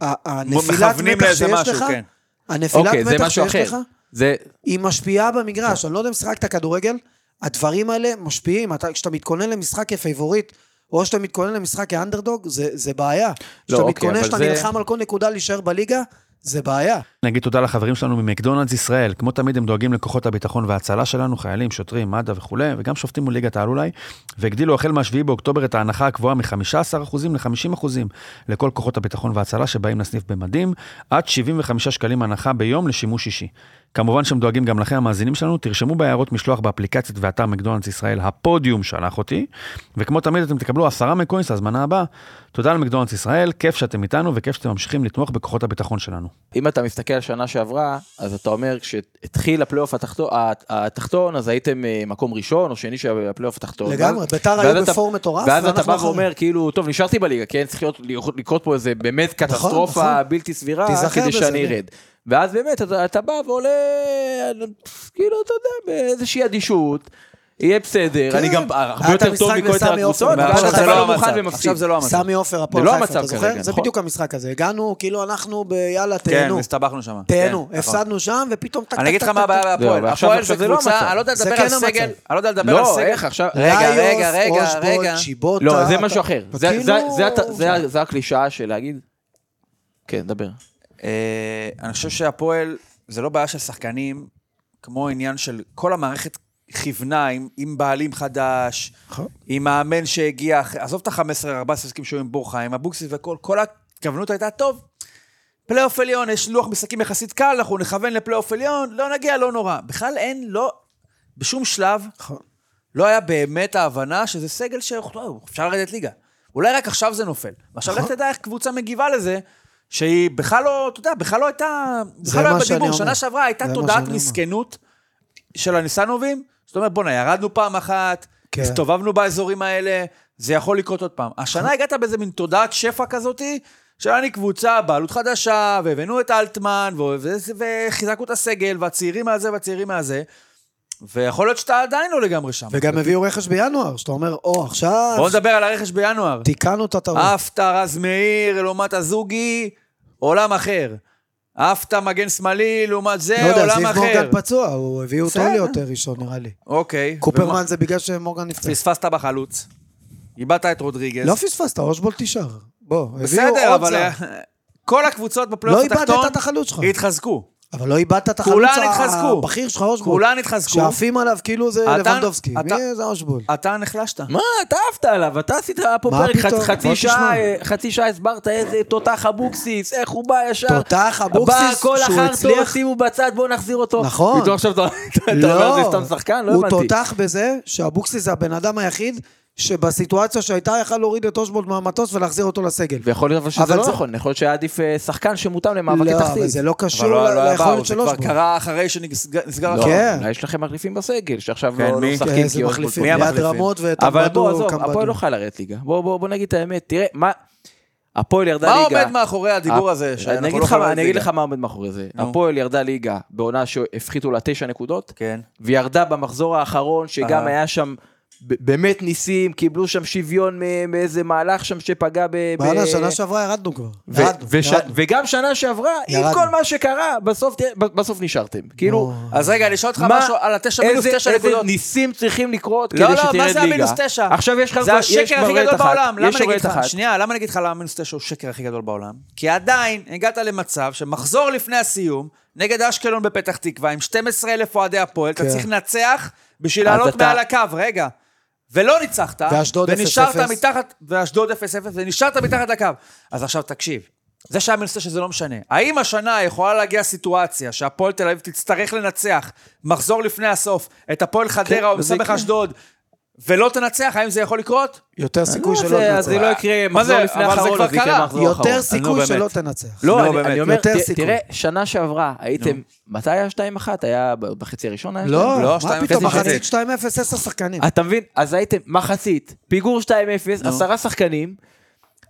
ה- הנפילת
מכוונים
מתח
לאיזה
שיש
משהו,
לך,
כן.
הנפילת
אוקיי, זה
מתח
משהו
שיש
אחר.
לך,
זה...
היא משפיעה במגרש. אני לא יודע אם שיחקת כדורגל, הדברים האלה משפיעים. אתה- כשאתה מתכונן למשחק כפייבוריט, או כשאתה מתכונן למשחק כאנדרדוג, זה זה בעיה. כשאתה
אוקיי,
מתכונן,
אבל
כשאתה
זה-
נלחם על כל נקודה להישאר בליגה, זה בעיה.
נגיד תודה לחברים שלנו ממקדונלדס ישראל, כמו תמיד הם דואגים לכוחות הביטחון וההצלה שלנו, חיילים, שוטרים, מד"א וכולי, וגם שופטים מול ליגת העל אולי, והגדילו החל מה-7 באוקטובר את ההנחה הגבוהה מ-15% ל-50% לכל כוחות הביטחון וההצלה שבאים לסניף במדים, עד 75 שקלים הנחה ביום לשימוש אישי. כמובן שהם דואגים גם לכם, המאזינים שלנו, תרשמו בהערות משלוח באפליקציות ואתר מקדונלדס ישראל, הפודיום שלח אותי, וכמו תמיד אתם תקבלו עשרה מקוינס להזמנה הבאה. תודה למקדונלדס ישראל, כיף שאתם איתנו וכיף שאתם ממשיכים לתמוך בכוחות הביטחון שלנו.
אם אתה מסתכל על שנה שעברה, אז אתה אומר, כשהתחיל הפלייאוף התחתו- הת- התחתון, אז הייתם אה, מקום ראשון או שני של הפלייאוף התחתון.
לגמרי,
ואז-
ביתר
ואז
היו
אתה-
בפורום מטורף,
ואז אתה
ואנחנו
בא
אחרי.
ואומר, כאילו, טוב, נשארתי בליגה, כן? צריך להיות, לקרות פה איזה באמת קטסטרופה
נכון.
בלתי סבירה,
תיזכר
כדי
בזה,
שאני
כן.
ארד. ואז באמת, אתה אתה בא ועולה, כאילו, אתה יודע, באיזושהי אדישות. יהיה בסדר,
כן.
אני גם
היה
הרבה
את
יותר טוב
המשחק
מכל יתר
בסמי עופר,
הקבוצות, ואז
והפועל
אתה
חיפה.
לא מוכן
המצב.
ומפסיד.
עכשיו זה לא המצב.
סמי עופר, הפועל
לא
חיפה,
המצב
אתה זוכר?
כרגע,
זה
נכון.
בדיוק המשחק הזה. הגענו, כאילו אנחנו ביאללה,
כן,
תהנו.
הסתבכנו שם.
תהנו,
כן, נכון.
הפסדנו שם, ופתאום... טק,
אני אגיד
טק,
לך מה
טק,
הבעיה
טק.
בהפועל.
לא, ועכשיו
הפועל זה
עכשיו זה לא
קבוצה,
המצב.
אני לא יודע לדבר על סגל. אני
זה כן המצב.
לא יודע לדבר על
לא,
סגל.
איך עכשיו...
רגע,
ליוס,
רגע, רגע,
רושבולד,
רגע.
שיבוטה.
לא, זה
אתה-
משהו אחר. זה-
כאילו-
זה- זה הת- זה ה- זה הקלישאה של להגיד... כן, דבר.
אה, אני חושב שהפועל, זה לא בעיה של שחקנים, כמו עניין של כל המערכת כיוונה עם, עם בעלים חדש,
נכון.
עם מאמן שהגיע, אחרי- עזוב את ה-15-14 עסקים שהיו עם בורחה, עם אבוקסיס וכל, כל הכוונות הייתה, טוב, פלייאוף עליון, יש לוח משחקים יחסית קל, אנחנו נכוון לפלייאוף עליון, לא נגיע, לא נורא. בכלל אין, לא, בשום שלב,
נכון.
לא היה באמת ההבנה שזה סגל שאפשר לרדת ליגה. אולי רק עכשיו זה נופל. ועכשיו
נכון.
לך תדע איך קבוצה מגיבה לזה, שהיא בכלל לא, אתה יודע, בכלל לא הייתה,
זה
בכלל לא
מה
היה
שאני
בדיבור.
אומר.
שנה שעברה
זה
הייתה
מה
תודעת
שאני אומר.
מסכנות של הניסנובים, זאת אומרת, בואנה, ירדנו פעם אחת,
כן.
הסתובבנו באזורים האלה, זה יכול לקרות עוד פעם.
נכון.
השנה הגעת באיזה מין תודעת שפע כזאתי, של אני קבוצה, בעלות חדשה, והבאנו את אלטמן, ו- ו- וחיזקנו את הסגל, והצעירים מהזה והצעירים מהזה, ויכול להיות שאתה עדיין לא לגמרי שם.
וגם הביאו רכש בינואר, שאתה אומר, או, עכשיו
בואו נדבר אה, על הרכש בינואר.
תיקנו את הטעות.
עפת רז מאיר לעומת הזוגי, עולם אחר. עפת מגן שמאלי לעומת זה,
לא יודע,
אה, עולם
זיו
אחר.
מורגן פצוע, הוא הביאו אותו
בסדר.
להיות אה, ראשון נראה לי.
אוקיי. ומה-
קופרמן זה בגלל שמורגן נפצע.
פספסת בחלוץ, איבדת את רודריגז.
לא פספסת, אושבולט תישאר. בוא, הביאו עוד זר.
בסדר, אבל אה, כל הקבוצות
לא
בפלייאוף
איבדת
התחתון
את החלוץ שלך.
התחזקו.
אבל לא איבדת את החלוץ
כולן התחזקו.
הבכיר שלך, אושבולט.
כולן התחזקו.
שעפים עליו כאילו זה
אתה-
לבנדובסקי.
אתה-
מי זה אושבולט?
אתה נחלשת.
מה, אתה עפת עליו, אתה עשית פה
מה
פרק חצ-
פתאום? בוא
חצי שעה,
תשמע.
אה, חצי שעה הסברת איזה תותח אבוקסיס, איך הוא בא ישר.
תותח
בא
אבוקסיס,
כל
שהוא
אחר טוב,
הצליח...
שימו בצד, בואו נחזיר אותו.
נכון.
פתאום עכשיו אתה לא- אתה אומר זה סתם שחקן? לא
הוא
הבנתי.
תותח בזה שאבוקסיס זה הבן אדם היחיד שבסיטואציה שהייתה יכל להוריד את אושבולט מהמטוס ולהחזיר אותו לסגל.
ויכול להיות אבל שזה
אבל
לא
זה-
נכון, יכול להיות שהיה עדיף אה, שחקן שמותאם למאבקי
לא,
תחתית.
אבל זה לא
אבל
קשור
לא לא
ל-
היה
ליכולת
באו, זה
של
כבר
אושבולט.
קרה אה, אחרי שנסגר
לא,
החלון.
כן.
אולי יש לכם מחליפים בסגל, שעכשיו
כן,
לא לא
מי?
משחקים.
כן, זה
כי אושבולט
מחליפים.
מי
פצוע.
ליד
המחליפים?
רמות ואת
אבל בוא,
אמבדו,
עזוב, הפועל
קמבדו.
לא חיה לרדת ליגה. בוא, בוא, בוא נגיד את האמת, תראה, מה... הפועל ירדה
מה
ליגה.
עומד מאחורי הדיבור הזה? שאנחנו
אה, אני אגיד
לא
לך
יכולים
מה-
לרדת
אני אגיד
ליגה?
לך מה עומד מאחורי זה.
נו.
הפועל ירדה ליגה בעונה שהפחיתו לה תשע נקודות,
כן. אה.
וירדה במחזור האחרון, שגם
אהה.
היה שם ב- באמת ניסים, קיבלו שם שוויון מ- מאיזה מהלך שם שפגע ב... ב-
לא,
וואלה, שנה שעברה ירדנו כבר.
ו-
ירדנו,
וש-
ירדנו.
וגם שנה שעברה, עם
ירדנו.
כל מה שקרה, בסוף תראה, ב- בסוף נשארתם. כאילו,
אז רגע, אני אשאל אותך
מה-
משהו על התשע מינוס
איזה-
תשע
איזה
נקודות.
ניסים צריכים לקרות כדי
לא,
שתרד
לא,
ליגה?
מה זה המינוס תשע?
עכשיו יש לך...
זה
כבר- יש
השקר הכי
מראה
גדול
אחת,
בעולם. למה
יש
אני אגיד
מראה
לך?
אחת.
שנייה, למה אני אגיד לך למה מינוס תשע הוא שקר הכי גדול בעולם? כי עדיין הגעת למצב שמחזור לפני הסיום, נגד אשקלון בפתח תקווה, עם 12 אלף אוהדי הפועל, אתה
כן.
צריך לנצח בשביל
אז
לעלות
אתה-
מעל הקו, רגע. ולא ניצחת,
ואשדוד 0-0.
ונשארת מתחת, ואשדוד 0-0, ונשארת מתחת לקו. אז עכשיו תקשיב, זה שהיה מנוסה שזה לא משנה. האם השנה יכולה להגיע סיטואציה שהפועל תל אביב תצטרך לנצח מחזור לפני הסוף את הפועל חדרה או
זה
מסמך
יקרה.
אשדוד, ולא תנצח, האם זה יכול לקרות?
יותר סיכוי
נו,
שלא
זה- אז זה
תנצח.
לא יקרה
מה זה?
מחזור לפני
אבל זה
האחרון,
כבר
אז זה יקרה
קרה.
לא
מחזור אחרון.
יותר
נו,
סיכוי
באמת.
שלא תנצח.
לא,
לא, אני,
באמת.
אני אומר,
יותר
ת-
סיכוי.
תראה, שנה שעברה, הייתם, מתי היה 2-1? היה ב- בחצי הראשון? היה 2-1?
לא,
לא,
מה
שתיים
פתאום,
וחצי.
מחצית 2-0, 10 שחקנים.
אתה מבין? אז הייתם מחצית, פיגור 2-0, עשרה שחקנים.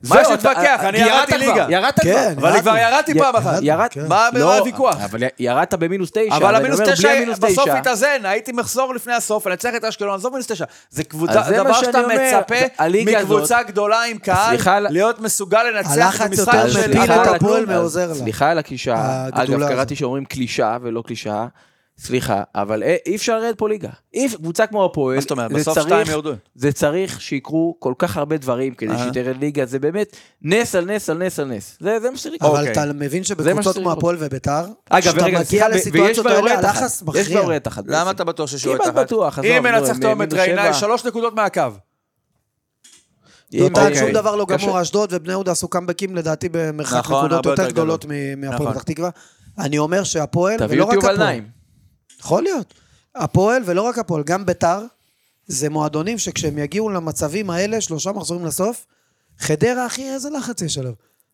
מה יש
זהו,
להתווכח?
אתה-
אני
ירדת
ירדתי
כבר,
ליגה.
ירדת כבר.
כן,
אבל אני כבר ירדתי
י-
פעם אחת.
ירד,
כן.
מה- מה
לא,
הוויכוח?
אבל י- ירדת במינוס תשע.
אבל
אני
המינוס
אומר,
תשע,
בלי המינוס
בסוף
תשע-
התאזן, הייתי מחזור לפני הסוף, לנצח את אשקלון, עזוב מינוס תשע. זה קבוצה,
אז זה מה
דבר
שאני
שאתה
אומר, זה-
מצפה
הליגה
מקבוצה גדולה עם קהל,
סליחה על-
להיות מסוגל לנצח
הלחץ
במשחק
יותר
של
מפיל
סליחה
אחד
את
על
על כלום.
הפועל
הכלום.
מעוזר
אז
לה.
סליחה על הקלישאה.
הגדולה
אגב,
הזאת.
קראתי שאומרים קלישאה ולא קלישאה. סליחה, אבל אה, אי אפשר לרדת פה ליגה. אי- קבוצה כמו הפועל,
מה זאת אומרת?
זה
בסוף
צריך-
שתיים ירדו.
זה צריך שיקרו כל כך הרבה דברים כדי
אה.
שתרד ליגה, זה באמת נס על נס על נס על נס. זה זה מה שצריך.
אבל
אוקיי.
אתה מבין
מה
שבקבוצות
שצריך
כמו
להיות.
הפועל וביתר,
אגב,
כשאתה
רגע,
מגיע
סליחה, ו- ויש
לסיטואציות האלה,
בעוררת אחת.
הלחץ
יש
מכריע.
בעוררת אחת.
למה
בעצם.
אתה בטוח שיש
כמעט
יורדת אחת?
בטוח, עזוב,
אם
נו,
מנצח
הם
תום את
מינוס
ריינה,
שבע.
שלוש נקודות מהקו.
אם-
טוטל,
אוקיי.
שום דבר לא
קשה.
גמור, אשדוד ובני יהודה עשו קמבקים לדעתי במרחק
נכון,
נקודות
הרבה
יותר
יותר גדול.
גדולות מ- מהפועל
נכון.
פתח תקווה. אני אומר שהפועל, ולא
תביאו
לא רק
את יובל
הפועל,
נעים.
יכול להיות, הפועל ולא רק הפועל, גם ביתר, זה מועדונים שכשהם יגיעו למצבים האלה, שלושה מחזורים לסוף, חדרה, אחי, איזה לחץ יש עליו.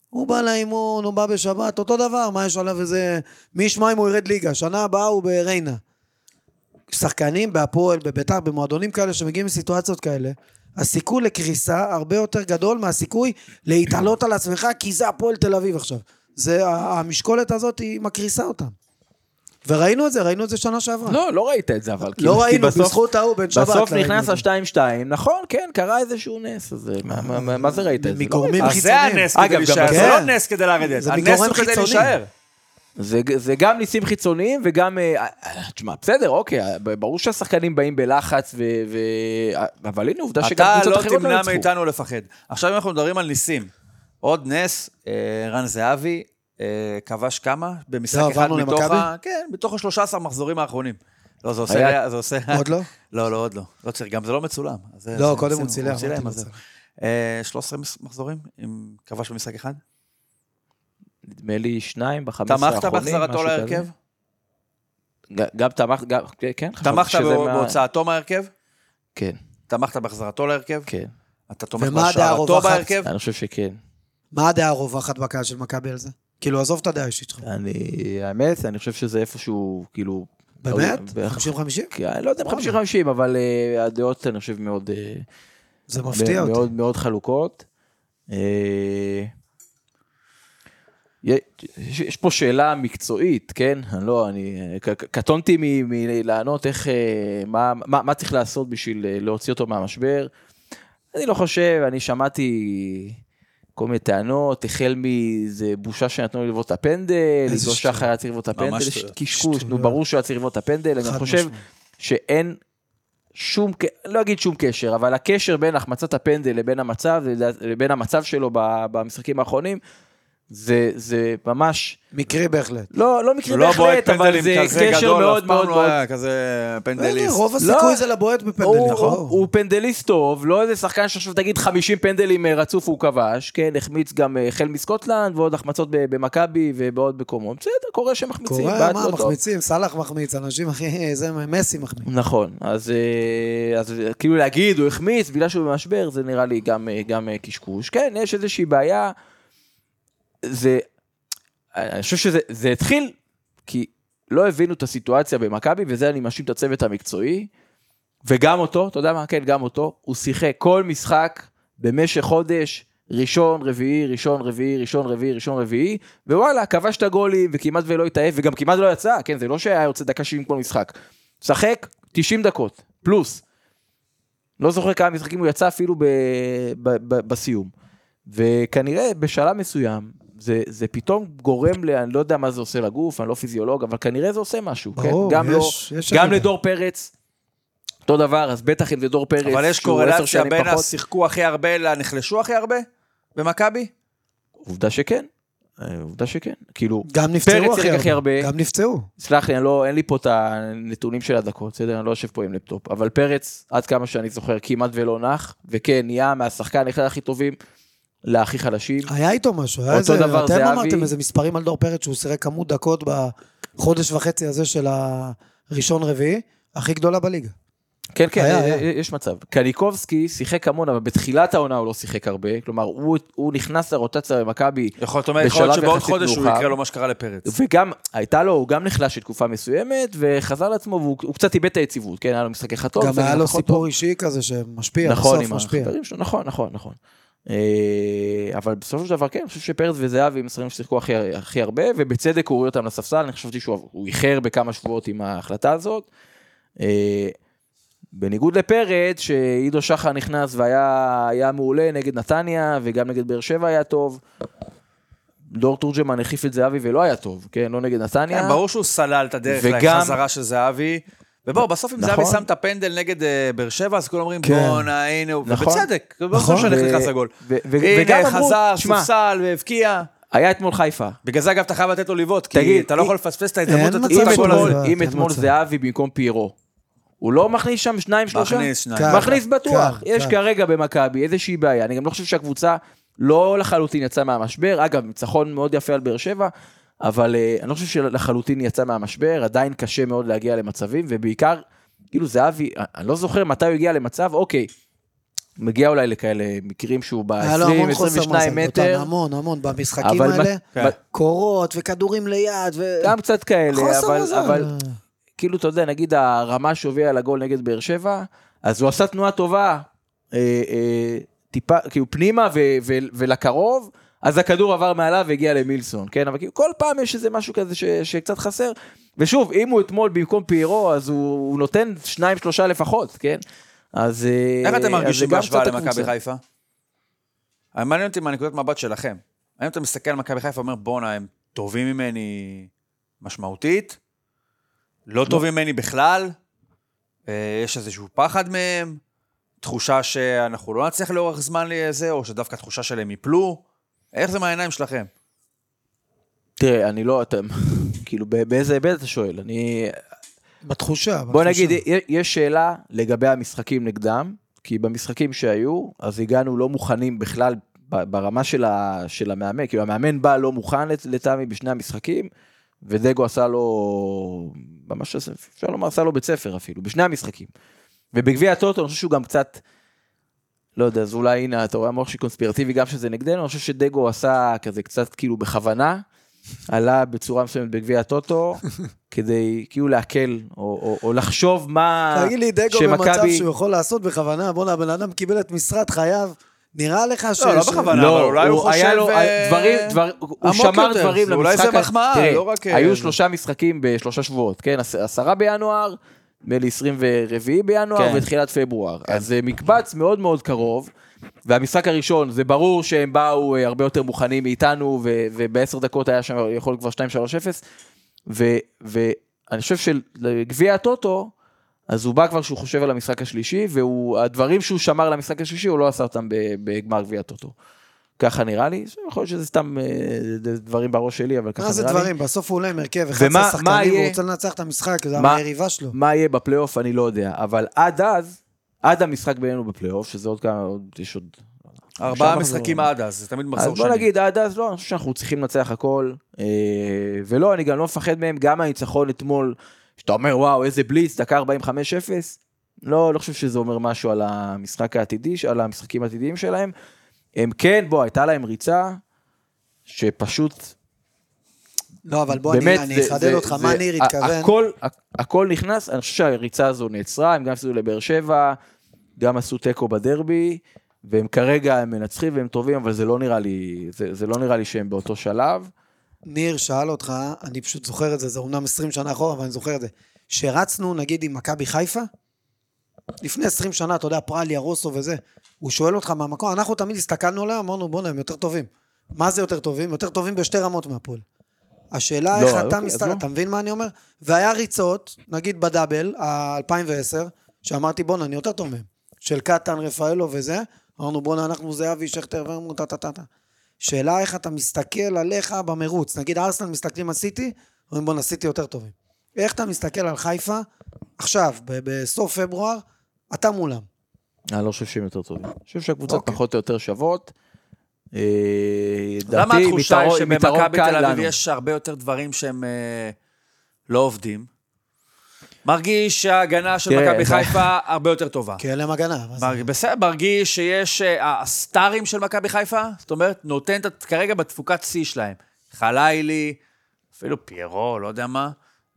הוא בא לאימון, הוא בא בשבת, אותו דבר, מה יש עליו איזה... מי ישמע אם הוא ירד ליגה, שנה הבאה הוא בריינה. שחקנים בהפועל, בביתר, במועדונים כאלה שמגיעים לסיטואציות כאלה, הסיכוי לקריסה הרבה יותר גדול מהסיכוי להתעלות על עצמך, כי זה הפועל תל אביב עכשיו. זה, ה- המשקולת הזאת היא מקריסה אותם. וראינו את זה, ראינו את זה שנה שעברה.
לא, לא ראית את זה, אבל. כי-
נכון. לא
כי
ראינו,
בסוף-
בזכות ההוא בן שבת. לא
בסוף
ראינו את
נכנס
זה.
ה-2-2, נכון, כן, קרה איזשהו נס, אז אה, מה- מה- מה- מה זה ראית? את זה? לא
מגורמים
ראית.
אז זה
חיצוניים.
הנס כדי
אגב, גם
להישאר, זה
כן.
לא נס כדי לרדת.
זה
הנס
מגורם
הוא כדי
חיצוני.
להישאר.
זה, זה גם ניסים חיצוניים וגם, אה, אה, תשמע, בסדר, אוקיי, אה, ברור שהשחקנים באים בלחץ, ו, ו, אה, אבל הנה עובדה
אתה
שגם קבוצות
לא
אחרות לא
תמנע
ניצחו.
מאיתנו לפחד. עכשיו אם אנחנו מדברים על ניסים, עוד נס, אה, רן זהבי אה, כבש כמה?
לא,
במשחק אחד
עברנו
מתוך ה...
למכבי?
כן, בתוך ה-13 מחזורים האחרונים. לא, זה עושה...
היה-
היה... זה עושה...
עוד לא?
לא, לא, עוד לא. לא צריך, גם זה לא מצולם. אז
אה,
זה-
לא,
זה
קודם
ניסים,
הוא צילם,
הוא צילם,
אמרתי לא
אז זהו.
מצולם.
אה, 13 מס- מחזורים, עם כבש במשחק אחד.
נדמה לי שניים בחמש עשרה
תמכת
האחרונים,
בהחזרתו
משהו כזה.
להרכב?
ג- גם תמכת, גם, כן, כן.
תמכת
חשבתי שזה
ב-
מה-
בהוצאתו מההרכב?
כן,
תמכת בהחזרתו להרכב?
כן,
אתה תומך
ומה הדעה
בהשארתו
הרווחת?
בהרכב?
אני חושב שכן.
מה הדעה הרווחת בקהל של מכבי על זה? כאילו, עזוב את הדעה האישית שלך.
אני, האמת, אני חושב שזה איפשהו, כאילו...
באמת?
בערך-
50-50?
כי אני לא יודע אם 50-50, אבל אה, הדעות, אני חושב, מאוד... אה,
זה מפתיע
מאוד-
אותי.
מאוד מאוד חלוקות. אה, יש יש פה שאלה מקצועית, כן? אני לא, אני אה, ק- ק- קטונתי מ- מלענות איך, אה, מה- מה מה צריך לעשות בשביל אה, להוציא אותו מהמשבר. אני לא חושב, אני שמעתי כל מיני טענות, החל מזה בושה שנתנו לי לבעוט את הפנדל, עידו
שטויות.
שחר היה צריך לבעוט את
ממש
הפנדל, יש
שטויות.
קשקוש, נו
שטויות.
ברור שהוא היה צריך לבעוט את הפנדל, אני
חד
גם חושב
משמעית.
שאין שום, ק- לא אגיד שום קשר, אבל הקשר בין החמצת הפנדל לבין המצב, לבין המצב שלו ב- במשחקים האחרונים, זה, זה ממש,
מקרי בהחלט.
לא, לא מקרה
הוא לא בועט
בהחלט, אבל
פנדלים
זה
כזה
קשר
גדול, אף
מאוד
פעם
מאוד
לא
מאוד.
היה כזה פנדליסט.
רוב
לא.
הסיכוי זה לבועט בפנדל,
הוא, הוא,
נכון?
הוא פנדליסט טוב, לא איזה שחקן שעכשיו תגיד 50 פנדלים אה, רצוף הוא כבש, כן, החמיץ גם אה, החל מסקוטלנד ועוד החמצות ב- במכבי ובעוד מקומות. בסדר, קורה שמחמיצים,
קורה,
בעט
מה,
לא טוב.
מחמיצים, סאלח מחמיץ, אנשים הכי... זה מסי מחמיץ.
נכון, אז, אה, אז אה, כאילו להגיד, הוא החמיץ בגלל שהוא במשבר, זה נראה לי גם, אה, גם אה, קשקוש. כן, יש איזושהי בעיה. זה, אה, אני חושב שזה זה התחיל, כי לא הבינו את הסיטואציה במכבי, וזה אני מאשים את הצוות המקצועי, וגם אותו, אתה יודע מה? כן, גם אותו. הוא שיחק כל משחק במשך חודש, ראשון, רביעי, ראשון, רביעי, ראשון, רביעי, ראשון, רביעי, ווואלה, כבש את הגולים, וכמעט ולא התאהב, וגם כמעט לא יצא, כן, זה לא שהיה יוצא דקה 70 כל משחק. שחק 90 דקות, פלוס. לא זוכר כמה משחקים הוא יצא אפילו ב, ב, ב, בסיום. וכנראה בשלב מסוים, זה, זה פתאום גורם ל... אני לא יודע מה זה עושה לגוף, אני לא פיזיולוג, אבל כנראה זה עושה משהו.
ברור,
כן? גם
יש-
לא,
יש
גם
עלייה.
לדור פרץ, אותו דבר, אז בטח אם זה דור פרץ,
אבל יש
אה, שהוא עשר
קורלציה
שנים
בין
פחות,
השיחקו הכי הרבה לנחלשו הכי הרבה במכבי?
עובדה שכן, אה, עובדה שכן. כאילו,
גם נפצעו
פרץ שיחק
הכי
הכי
הרבה.
הרבה.
גם נפצעו.
סלח לי, אני לא, אין לי פה את הנתונים של הדקות, בסדר? אני לא יושב פה עם לפטופ. אבל פרץ, עד כמה שאני זוכר, כמעט ולא נח, וכן, נהיה מהשחקן אחד הכי טובים להכי חלשים.
היה איתו משהו, היה
אותו
איזה...
דבר,
אתם
זהבי.
אמרתם איזה מספרים על דור פרץ שהוא סירק כמות דקות בחודש וחצי הזה של הראשון רביעי, הכי גדולה בליגה.
כן, כן,
היה,
אה,
היה.
אה, יש מצב. קניקובסקי שיחק המון, אבל בתחילת העונה הוא לא שיחק הרבה. כלומר, הוא- הוא נכנס לרוטציה במכבי
יכול להיות אומר, יכול להיות
בשלב
שבעוד
יחסית
חודש הוא
מאוחר.
יקרה לו מה שקרה לפרץ.
וגם, הייתה לו, הוא גם נחלש לתקופה מסוימת, וחזר לעצמו, והוא הוא קצת איבד את היציבות, כן? היה לו משחק אחד טוב, נכון.
גם
משחק
היה לו
פחות
סיפור
טוב.
אישי כזה שמשפיע,
נכון,
בסוף
עם
משפיע.
החברים שלו, נכון, נכון, נכון. אה, אבל בסופו של דבר, כן, אני חושב שפרץ וזהבי הם השחקנים ששיחקו הכי, הכי הרבה, ובצדק הוא הוריד אותם לספסל, אני חשבתי שהוא הוא איחר בכמה שבועות עם ההחלטה הזאת. אה, בניגוד לפרץ, שעידו שחר נכנס והיה היה מעולה נגד נתניה, וגם נגד באר שבע היה טוב. דור תורג'מן החליף את זהבי ולא היה טוב, כן? לא נגד נתניה.
כן, ברור שהוא סלל את הדרך
וגם-
לחזרה של זהבי. ובואו, בסוף אם
נכון.
זהבי שם את הפנדל נגד אה, באר שבע, אז כולם אומרים,
כן.
בואנה, הנה הוא,
נכון.
ובצדק, זה לא
נכון.
משנה איך
ו-
נכנס לגול.
ו- ו- וגם
הנה,
אמרו,
חזר,
"שמע,
סופסל, והבקיע.
היה אתמול חיפה.
בגלל זה, אגב, אתה חייב לתת לו לבעוט, כי
תגיד,
אתה לא
אם-
יכול לפספס את ההזדמנות
אין
לתת
מצב
לו
אם
את הגול
שלא.
הזה.
אתמול,
הבנתי,
אם אתמול
מצב.
זהבי במקום פיירו, הוא לא מכניס שם שניים שלושה?
מכניס שניים.
קל.
מכניס בטוח.
קל,
יש
קל.
כרגע במכבי איזושהי בעיה. אני גם לא חושב שהקבוצה לא לחלוטין יצאה מהמשבר. אגב, ניצחון מאוד יפה על באר שבע, אבל אה, אני לא חושב שלחלוטין יצאה מהמשבר. עדיין קשה מאוד להגיע למצבים, ובעיקר, כאילו זהבי, אה, אני לא זוכר מתי הוא הגיע למצב, אוקיי. מגיע אולי לכאלה מקרים שהוא
היה לו המון חוסר
ב-20-22
מאזן, אותן,
מטר.
המון, המון, במשחקים
אבל
האלה,
כן.
קורות וכדורים ליד, ו...
גם קצת כאלה,
חוסר
אבל,
מאזן.
אבל כאילו, אתה יודע, נגיד הרמה שהובילה לגול נגד באר שבע, אז הוא עשה תנועה טובה, אה, אה, טיפה, כאילו פנימה ו, ו, ולקרוב, אז הכדור עבר מעליו והגיע למילסון, כן? אבל כאילו, כל פעם יש איזה משהו כזה ש, שקצת חסר. ושוב, אם הוא אתמול במקום פיירו, אז הוא, הוא נותן שניים, שלושה לפחות, כן? אז... אה,
איך
אז זה
אתם מרגישים
גם
בהשוואה
קצת
למכבי
הקבוצה.
חיפה? אבל מעניין אותי מהנקודת מבט שלכם. האם אתה מסתכל על מכבי חיפה ואומר, בואנה, הם טובים ממני משמעותית, לא טובים ממני בכלל, אה, יש איזשהו פחד מהם, תחושה שאנחנו לא נצליח לאורך זמן לזה, או שדווקא תחושה שלהם ייפלו. איך זה מהעיניים שלכם?
תראה, אני לא... אתה, כאילו, ב- באיזה היבט אתה שואל? אני...
בתחושה.
בוא
בתחושה.
נגיד, י- יש שאלה לגבי המשחקים נגדם, כי במשחקים שהיו, אז הגענו לא מוכנים בכלל ב- ברמה של, ה, של המאמן, כאילו המאמן בא לא מוכן לת- לטעמי בשני המשחקים, ודגו עשה לו, ממש עשה- אפשר לומר, עשה לו בית ספר אפילו, בשני המשחקים. ובגביע הטוטו אני חושב שהוא גם קצת, לא יודע, אז אולי הנה, אתה רואה המוח שלי קונספירטיבי גם שזה נגדנו, אני חושב שדגו עשה כזה קצת כאילו בכוונה, עלה בצורה מסוימת בגביע הטוטו, כדי כאילו להקל, או, או, או לחשוב מה...
תגיד לי, דגו במצב
אה, שמכבי-
שהוא יכול לעשות בכוונה, בואנה, הבן אדם קיבל את משרד חייו, נראה לך ש...
לא
ש-
בכוונה. אבל אולי הוא
היה
חושב,
לו
אה,
דברים, דבר, הוא
עמוק
שמר
יותר.
דברים
אולי
למשחק.
זה
ה-
מחמאה,
תראה,
לא רק, אה,
היו
זה.
שלושה משחקים בשלושה שבועות, כן? עש- עשרה בינואר, נדמה לי 24 בינואר
כן.
ותחילת פברואר. אז זה מקבץ מאוד מאוד קרוב, והמשחק הראשון, זה ברור שהם באו אה, הרבה יותר מוכנים מאיתנו, ו- ובעשר דקות היה שם יכול כבר 2-3-0, ו- ואני חושב שלגביע הטוטו, אז הוא בא כבר שהוא חושב על המשחק השלישי, והדברים שהוא שמר למשחק השלישי, הוא לא עשה אותם ב- בגמר גביע הטוטו. ככה נראה לי, יכול להיות שזה סתם אה, ד- דברים בראש שלי, אבל ככה
מה
נראה לי.
אה, זה דברים? בסוף הוא עולה עם הרכב, 11
ומה- מה
שחקנים, הוא
יהיה?
רוצה לנצח את המשחק, זה
מה-
היריבה שלו.
מה יהיה בפלייאוף אני לא יודע, אבל עד אז, עד המשחק בינינו בפלייאוף, שזה עוד כמה, עוד, יש עוד... לא-
ארבעה
מחזור.
משחקים עד אז, זה תמיד
אז
מחזור
בוא
שני.
נגיד, עד אז לא, אני חושב שאנחנו צריכים לנצח הכל, אה, ולא, אני גם לא מפחד מהם, גם הניצחון אתמול, שאתה אומר, וואו, איזה בליץ, דקה 45-0, לא, לא חושב שזה אומר משהו על המשחק העתידי, על המשחקים העתידיים שלהם. הם כן, בוא, הייתה להם ריצה, שפשוט
לא, אבל בוא,
באמת,
אני
זה-
אני אחדד
זה-
אותך,
זה-
מה ניר
ה-
התכוון?
הכל, ה- הכל נכנס, אני חושב שהריצה הזו נעצרה, הם גם הפסידו לבאר שבע, גם עשו תיקו בדרבי, והם כרגע הם מנצחים והם טובים, אבל זה לא נראה לי, זה, זה לא נראה לי שהם באותו שלב.
ניר שאל אותך, אני פשוט זוכר את זה, זה אומנם 20 שנה אחורה, אבל אני זוכר את זה. שרצנו, נגיד, עם מכבי חיפה, לפני 20 שנה, אתה יודע, פרליה, רוסו וזה, הוא שואל אותך מהמקום, אנחנו תמיד הסתכלנו עליהם, אמרנו, בוא'נה, הם יותר טובים. מה זה יותר טובים? יותר טובים בשתי רמות מהפועל. השאלה
לא,
איך אתה
אוקיי, אז
מסתכל,
לא.
אתה מבין מה אני אומר? והיה ריצות, נגיד בדאבל, ה-2010, שאמרתי, בוא'נה, אני יותר טוב מהם. של קטן, רפאלו וזה, אמרנו, בוא'נה, אנחנו זהבי, שכטר, ואמרנו, טה טה טה טה. שאלה איך אתה מסתכל עליך במרוץ. נגיד ארסנל מסתכלים על סיטי, אומרים בואנה סיטי יותר טובים. איך אתה מסתכל על חיפה עכשיו, ב- בסוף פברואר, אתה מולם.
אני לא חושב שהם יותר טובים. אני חושב שהקבוצות
אוקיי.
פחות או יותר שוות. אה,
למה
דעתי,
התחושה היא
מיתרון- מיתרון
שבמכבי
קל
תל אביב
לנו.
יש הרבה יותר דברים שהם אה, לא עובדים? מרגיש שההגנה של
תראה,
מכבי
זה- כן.
חיפה הרבה יותר טובה.
כי אין להם הגנה. מה זה?
מרג- בסדר, מרגיש שיש אה, הסטארים של מכבי חיפה, זאת אומרת, נותן את ה- כרגע בתפוקת שיא שלהם. חלילי, אפילו פיירו, לא יודע מה,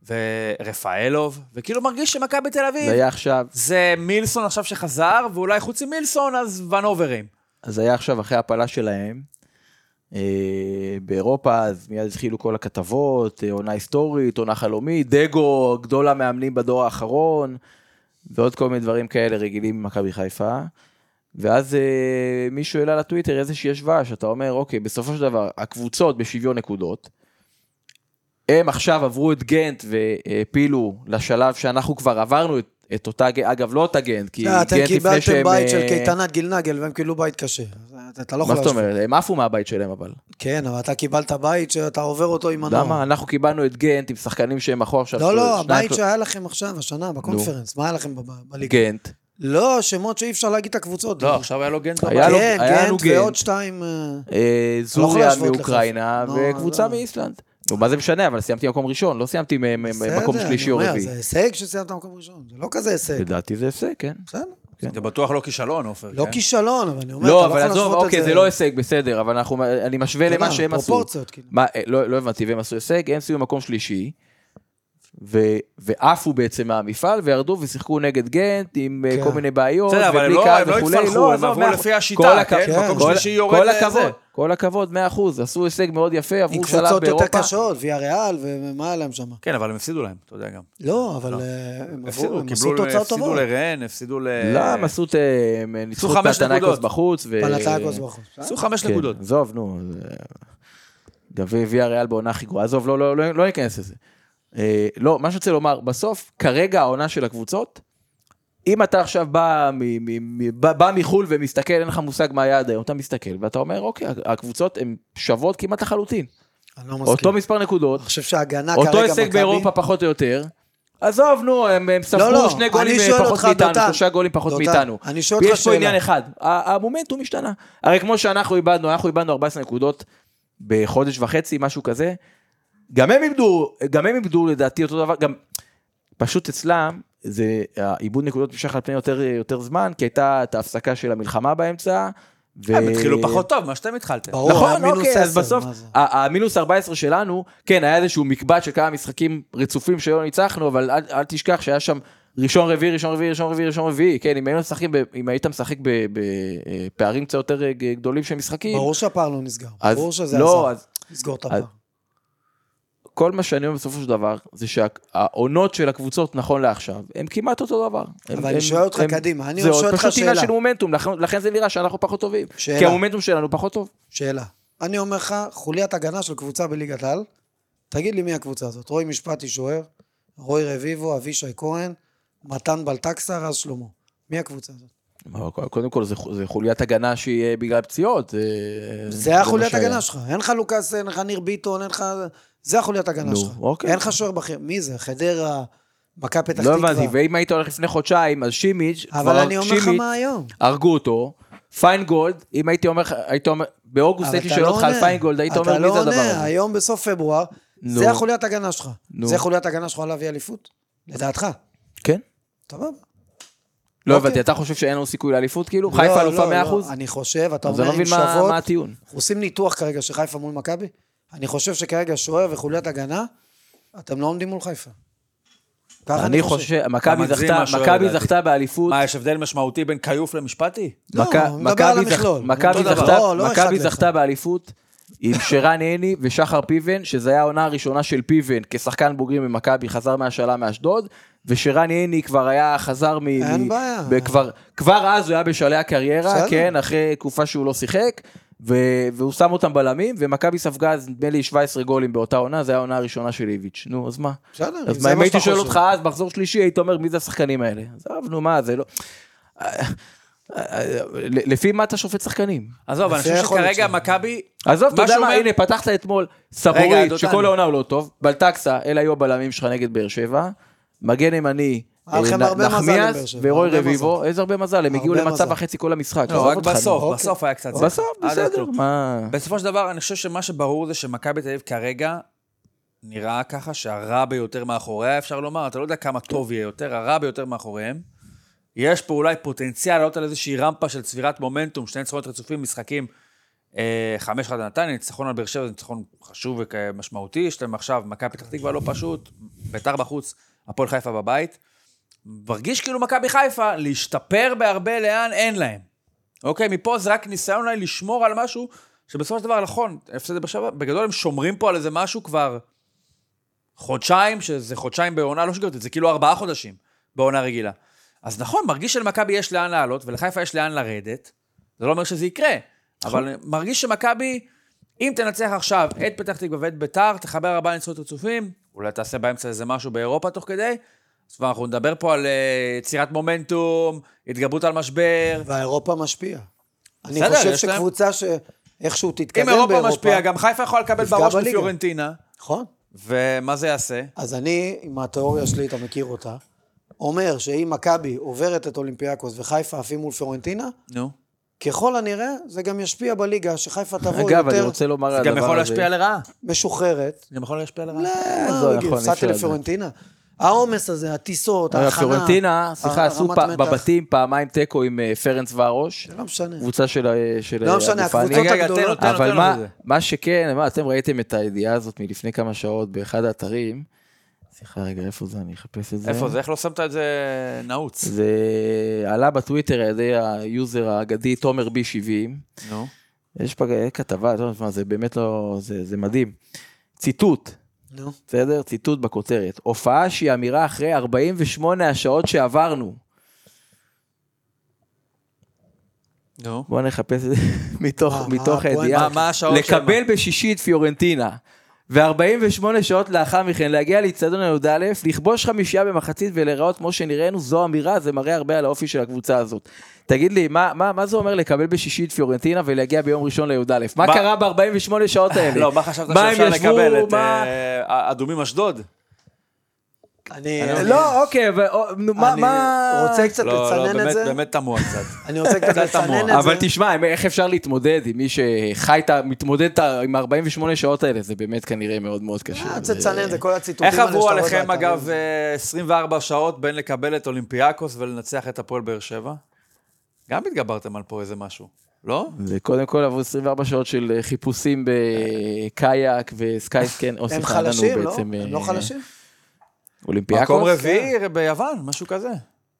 ורפאלוב, וכאילו מרגיש שמכבי תל
זה
אביב,
היה עכשיו,
זה מילסון עכשיו שחזר, ואולי חוץ ממילסון אז ונוברים.
אז היה עכשיו אחרי ההפלה שלהם. אה, באירופה, אז מיד התחילו כל הכתבות, אה, עונה היסטורית, עונה חלומית, דגו, גדול המאמנים בדור האחרון, ועוד כל מיני דברים כאלה רגילים במכבי חיפה. ואז אה, מישהו העלה לטוויטר איזושהי השוואה, שאתה אומר, אוקיי, בסופו של דבר, הקבוצות בשוויון נקודות, הם עכשיו עברו את גנט והעפילו לשלב שאנחנו כבר עברנו את, את אותה, גנט- אגב, לא אותה גנט, כי
אה,
גנט
אתם
לפני שהם...
קיבלתם בית של
אה,
קייטנת גילנגל והם קיבלו בית קשה. אתה- אתה לא יכול
מה זאת
להשוות.
אומרת? הם עפו מהבית שלהם אבל.
כן, אבל אתה קיבלת בית שאתה עובר אותו עם הנוער.
למה? אנחנו קיבלנו את גנט עם שחקנים שהם אחורה עכשיו.
לא, לא,
שניים-
הבית שהיה לכם עכשיו, השנה, בקונפרנס, מה היה לכם בב- בליגה?
גנט.
לא, שמות שאי אפשר להגיד את הקבוצות.
לא, עכשיו היה לו גנדו.
היה לו-
כן,
היה לנו
גנט ועוד
גנט.
שתיים... אה,
אה,
יכול
זוריה
להשוות
מאוקראינה
לך. לא,
וקבוצה
לא.
מאיסלנד. נו, מה זה משנה? אבל סיימתי מקום ראשון, לא סיימתי מ- מ-
בסדר,
מקום
אני
שלישי או
אומר,
רביעי.
זה הישג שסיימת במקום ראשון, זה לא כזה הישג.
לדעתי זה הפסק, כן.
בסדר.
זה בטוח לא כישלון, עופר.
לא
כן?
כישלון, אבל אני אומר,
לא,
אתה לא
אבל
יכול
עזוב,
להשוות את זה.
אוקיי, זה לא הישג, בסדר, אבל אנחנו- אני משווה
אתה יודע,
למה שהם עשו.
פרופורציות, כאילו.
מה, אה, לא לא הבנתי, והם עשו הישג, הם סיימו מקום שלישי, ו- ועפו בעצם מהמפעל, וירדו ושיחקו נגד גנט עם אה,
כן.
כל מיני בעיות,
בסדר, אבל
ובלי
לא-
קהל
הם לא התפלחו,
וכולי.
הם
עזוב,
עברו
מאה
לפי
אחוז.
השיטה,
כל
כן?
הכבוד,
מקום
כל-
שלישי יורד
כל
לזה.
הכבוד, כל הכבוד, 100%, עשו הישג מאוד יפה,
עם
עברו שלב
קבוצות יותר
באירופה.
קשות, ויה ריאל, ומה היה להם שם?
כן, אבל הם הפסידו להם, אתה יודע גם.
לא, אבל אה, הם עברו,
הפסידו,
הם עשו
קיבלו,
תוצאות
הפסידו
טובות.
לרן, הפסידו ל...
לא, הם עשו את... אה, הם ניצחו את
חמש
פנתנקוס
נקודות.
בחוץ. ו-
פלטגוס בחוץ.
עשו חמש
כן,
נקודות.
עזוב, נו. זה- גם ויה ריאל בעונה הכי גרועה. עזוב, לא- לא לא- לא ניכנס לזה. אה, לא, מה שאני רוצה לומר, בסוף, כרגע העונה של הקבוצות, אם אתה עכשיו בא, מ- מ- מ- בא, בא מחו"ל ומסתכל, אין לך מושג מה היה עד היום, אתה מסתכל ואתה אומר, אוקיי, הקבוצות הן שוות כמעט לחלוטין.
אני לא
אותו
מסכים.
מספר נקודות,
אני חושב שההגנה כרגע...
אותו הישג
מכבי-
באירופה פחות או יותר. עזוב, נו, הם הם
לא,
ספגו
לא,
שני
אני
גולים אה,
שואל
פחות
אותך,
מאיתנו,
דותן.
שלושה גולים פחות
דותן,
מאיתנו.
אני שואל אותך
יש פה
שאלה.
עניין אחד, ה- המומנטום השתנה. הרי כמו שאנחנו איבדנו, אנחנו איבדנו 14 נקודות בחודש וחצי, משהו כזה. גם הם איבדו, גם הם איבדו לדעתי אותו דבר, גם פשוט אצלם, זה העיבוד נקודות נמשך על פני יותר, יותר זמן, כי הייתה את ההפסקה של המלחמה באמצע. ו...
אה,
הם
אה,
התחילו פחות טוב ממה שאתם התחלתם.
ברור. היה
נכון,
מינוס
אוקיי, אז
עשר,
בסוף,
מה זה?
ה- המינוס 14 שלנו, כן, היה איזשהו מקבץ של כמה משחקים רצופים שלא ניצחנו, אבל אל, אל תשכח שהיה שם ראשון רביעי, ראשון רביעי, ראשון רביעי, ראשון רביעי, כן, אם היינו משחקים, ב- אם היית משחק בפערים קצת יותר אה, ג- גדולים של משחקים,
ברור שהפער לא נסגר.
אז
ברור שזה
לא,
עזר.
אז
לסגור את
אז-
הפער.
כל מה שאני אומר בסופו של דבר, זה שהעונות של הקבוצות נכון לעכשיו, הן כמעט אותו דבר. הם-
אבל אני
הם-
שואל אותך
הם-
קדימה, אני
זה
שואל
עוד
אותך
פשוט עניין
שאלה.
של מומנטום, לכן- לכן זה נראה שאנחנו פחות טובים.
שאלה.
כי המומנטום שלנו פחות טוב.
שאלה. אני אומר לך, חוליית הגנה של קבוצה בליגת העל, תגיד לי מי הקבוצה הזאת. רועי משפטי שוער, רועי רביבו, אבישי כהן, מתן בלטקסר, אז שלמה. מי הקבוצה הזאת?
אבל קודם כל, זה חו- זה חוליית הגנה שהיא אה, בגלל פציעות. אה,
זה היה
מה
חוליית
שהיה.
הגנה שלך. אין לך לוקאס, אין לך ניר ביטון, אין לך... זה החוליית הגנה
נו,
שלך.
אוקיי.
אין לך שוער בכיר. מי זה? חדרה, מכבי פתח
לא
תקווה.
הבנתי, ואם היית הולך לפני חודשיים, אז שימיץ',
אבל
כבר-
אני אומר לך
שימיץ',
מה היום.
הרגו אותו, פיינגולד, אם הייתי אומר לך, היית אומר, באוגוסט
אבל
הייתי
אתה
שואל
לא
אותך על
עונה.
פיינגולד, היית אומר,
אתה
מי
לא
זה הדבר
עונה,
הזה?
היום בסוף פברואר,
נו.
זה החוליית הגנה שלך.
נו.
זה חוליית הגנה שלך להביא אליפות? לדעתך.
כן?
סבבה.
לא
אוקיי.
הבנתי, אתה חושב שאין לנו סיכוי לאליפות, כאילו? חיפה אלופה 100%?
לא, אני חושב, אתה
אז אני
אומר עם
לא מבין מה
שוות,
מה הטיעון.
אנחנו עושים ניתוח כרגע של חיפה מול מכבי. אני חושב שכרגע שוער וחוליית הגנה, אתם לא עומדים מול חיפה. ככה
אני חושב,
אתה
מכבי
מגזים
זכתה-
מה שואל
מכבי
לדעתי.
זכתה באליפות.
מה, יש הבדל משמעותי בין כיוף למשפטי?
לא,
מכ-
הוא מדבר
מכבי
על
זכ-
המכלול.
מכבי
אותו דבר.
זכתה-
לא, לא אחד
מכבי
לאחד.
זכתה באליפות עם שרן הני ושחר פיבן, שזו הייתה העונה הראשונה של פיבן כשחקן בוגרים במכבי, חזר מהשאלה מאשדוד, ושרן הני כבר היה, חזר מ...
אין
מ-
בעיה.
וכבר- כבר אז הוא היה בשלהי הקריירה,
בסדר.
כן, אחרי תקופה שהוא לא שיחק. ו- והוא שם אותם בלמים, ומכבי ספגה אז נדמה לי 17 גולים באותה עונה, זו הייתה העונה הראשונה של איביץ'. נו, אז מה?
בסדר,
אז
זה
מה, אם
מה
הייתי
שאתה
שואל
חושב.
אותך אז, מחזור שלישי, היית אומר, מי זה השחקנים האלה? עזוב, נו, מה, זה לא... לפי מה אתה שופט שחקנים?
עזוב, אני
לפי
חושב
היכולת
שכרגע
שלו.
מכבי...
עזוב, אתה
מה
יודע
שהוא
מה,
אומר-
הנה, פתחת אתמול
רגע,
סבורית,
דותן.
שכל העונה הוא לא טוב, בלטקסה, אלה היו הבלמים שלך נגד באר שבע, מגן ימני,
היה לכם
אה,
הרבה מזל עם
נחמיאס
באר שבע,
ורוי
הרבה
רביבו, איזה הרבה מזל, הם הגיעו
הרבה
למצב
מזל.
וחצי כל המשחק.
לא,
עזוב
רק
אותך, נו.
בסוף,
אוקיי.
בסוף היה קצת...
בסוף,
עד
בסדר,
הכלום.
מה...
בסופו של דבר, אני חושב שמה שברור זה שמכבי תל אביב כרגע
נראה ככה שהרע ביותר מאחוריה, אפשר לומר, אתה לא יודע כמה טוב יהיה יותר, הרע ביותר מאחוריהם. יש פה אולי פוטנציאל לעלות על איזושהי רמפה של צבירת מומנטום, שני ניצחונות רצופים, משחקים אה, 5-1 לנתניה, ניצחון על באר שבע זה ניצחון חשוב ומשמעותי, יש להם עכשיו מכבי פתח תקווה לא פשוט, ביתר בחוץ, הפועל חיפה בבית. מרגיש כאילו מכבי חיפה, להשתפר בהרבה לאן אין להם. אוקיי, מפה זה רק ניסיון אולי לשמור על משהו, שבסופו של דבר, נכון, הפסד לבאר שבע, בגדול הם שומרים פה על איזה משהו כבר חודשיים, שזה חודשיים בעונה לא שגרתית, זה כאילו ארבעה חודשים בעונה רגילה. אז נכון, מרגיש שלמכבי יש לאן לעלות, ולחיפה יש לאן לרדת, זה לא אומר שזה יקרה, אבל מרגיש שמכבי, אם תנצח עכשיו את פתח תקווה ואת ביתר, תחבר ארבעה ניצחונות רצופים, אולי תעשה באמצע איזה משהו באירופה תוך כדי, אז כבר אנחנו נדבר פה על אה, יצירת מומנטום, התגברות על משבר,
והאירופה משפיע. אני
בסדר,
חושב
יש להם-
שקבוצה שאיכשהו
אם
תתקדם באירופה...
אירופה משפיעה, גם חיפה יכולה לקבל
יפגע
בראש
בליגה.
מפיורנטינה,
נכון.
ומה זה יעשה?
אז אני, עם התיאוריה שלי, אתה מכיר אותה, אומר שאם מכבי עוברת את אולימפיאקוס וחיפה עפים מול פלורנטינה,
נו.
ככל הנראה זה גם ישפיע בליגה, שחיפה תבוא
אגב, אני
יותר
רוצה לומר על
זה
הדבר הזה.
גם יכול להשפיע לרעה.
משוחררת.
זה גם יכול להשפיע לרעה.
לא,
לא
רגיל,
יכול, אי
הפסדתי
אפשר
לפיורנטינה. העומס הזה, הטיסות,
אגב,
ההכנה.
פיורנטינה, אה, סליחה,
הרמת
עשו פע-
אה, מתח.
בבתים פעמיים תיקו עם אה, פרנס וארוש,
זה לא משנה.
קבוצה של ה- של
לא
אה,
משנה,
אבו פאני.
הקבוצות לא
רגע, רגע, תן לו,
הגדולות...
תן לו.
אבל מה,
את זה.
מה שכן, מה, אתם ראיתם את הידיעה הזאת מלפני כמה שעות באחד האתרים. סליחה, רגע, איפה זה? אני אחפש את זה.
איפה זה? איך לא שמת את זה נעוץ?
זה עלה בטוויטר על ידי היוזר האגדי תומר בי 70.
נו.
יש פה אה, כתבה, אתה יודע מה, זה באמת לא... זה, זה מדהים. ציטוט,
נו,
בסדר? ציטוט בכותרת. הופעה שהיא אמירה אחרי 48 השעות שעברנו.
נו.
בואו נחפש את זה מתוך,
מה, מה
מתוך
הפואנטה?
הידיעה.
אה, מה- מה השעות שם?
לקבל בשישי את פיורנטינה. ו-48 שעות לאחר מכן להגיע לאיצטדיון י"א, לכבוש חמישייה במחצית ולהיראות כמו שנראינו, זו אמירה, זה מראה הרבה על האופי של הקבוצה הזאת. תגיד לי, מה, מה, מה זה אומר לקבל בשישי את פיורנטינה ולהגיע ביום ראשון לי"א? מה
מה-
קרה ב-48 שעות האלה?
לא, מה חשבת
מה הם
שאפשר
ישבו,
לקבל? את
מה-
אה, אדומים אשדוד?
אני...
אה,
לא, אוקיי, אבל או- נו, מה...
אני
מה...
רוצה קצת
לא, לא,
לצנן את
באמת-
זה.
באמת תמוה קצת.
אני רוצה קצת
קצת
לצנן
תמוה.
את זה.
אבל תשמע, הם- איך אפשר להתמודד עם מי שחי את ה... מתמודד את ה- עם 48 שעות האלה? זה באמת כנראה מאוד מאוד קשה.
אה, צריך לצנן את זה, כל הציטוטים
איך
האלה
עברו
שאתה רואה
עליכם,
באתרים.
אגב, אה, 24 שעות בין לקבל את אולימפיאקוס ולנצח את הפועל באר שבע? גם התגברתם על פה איזה משהו, לא?
זה קודם כל עברו 24 שעות של אה, חיפושים בקאיאק וסקייסקן. או
הם
סליחה, לנו
חלשים, לא?
בעצם,
הם
אה,
לא חלשים?
אולימפיאקוס. כן.
מקום רביעי ביוון, משהו כזה.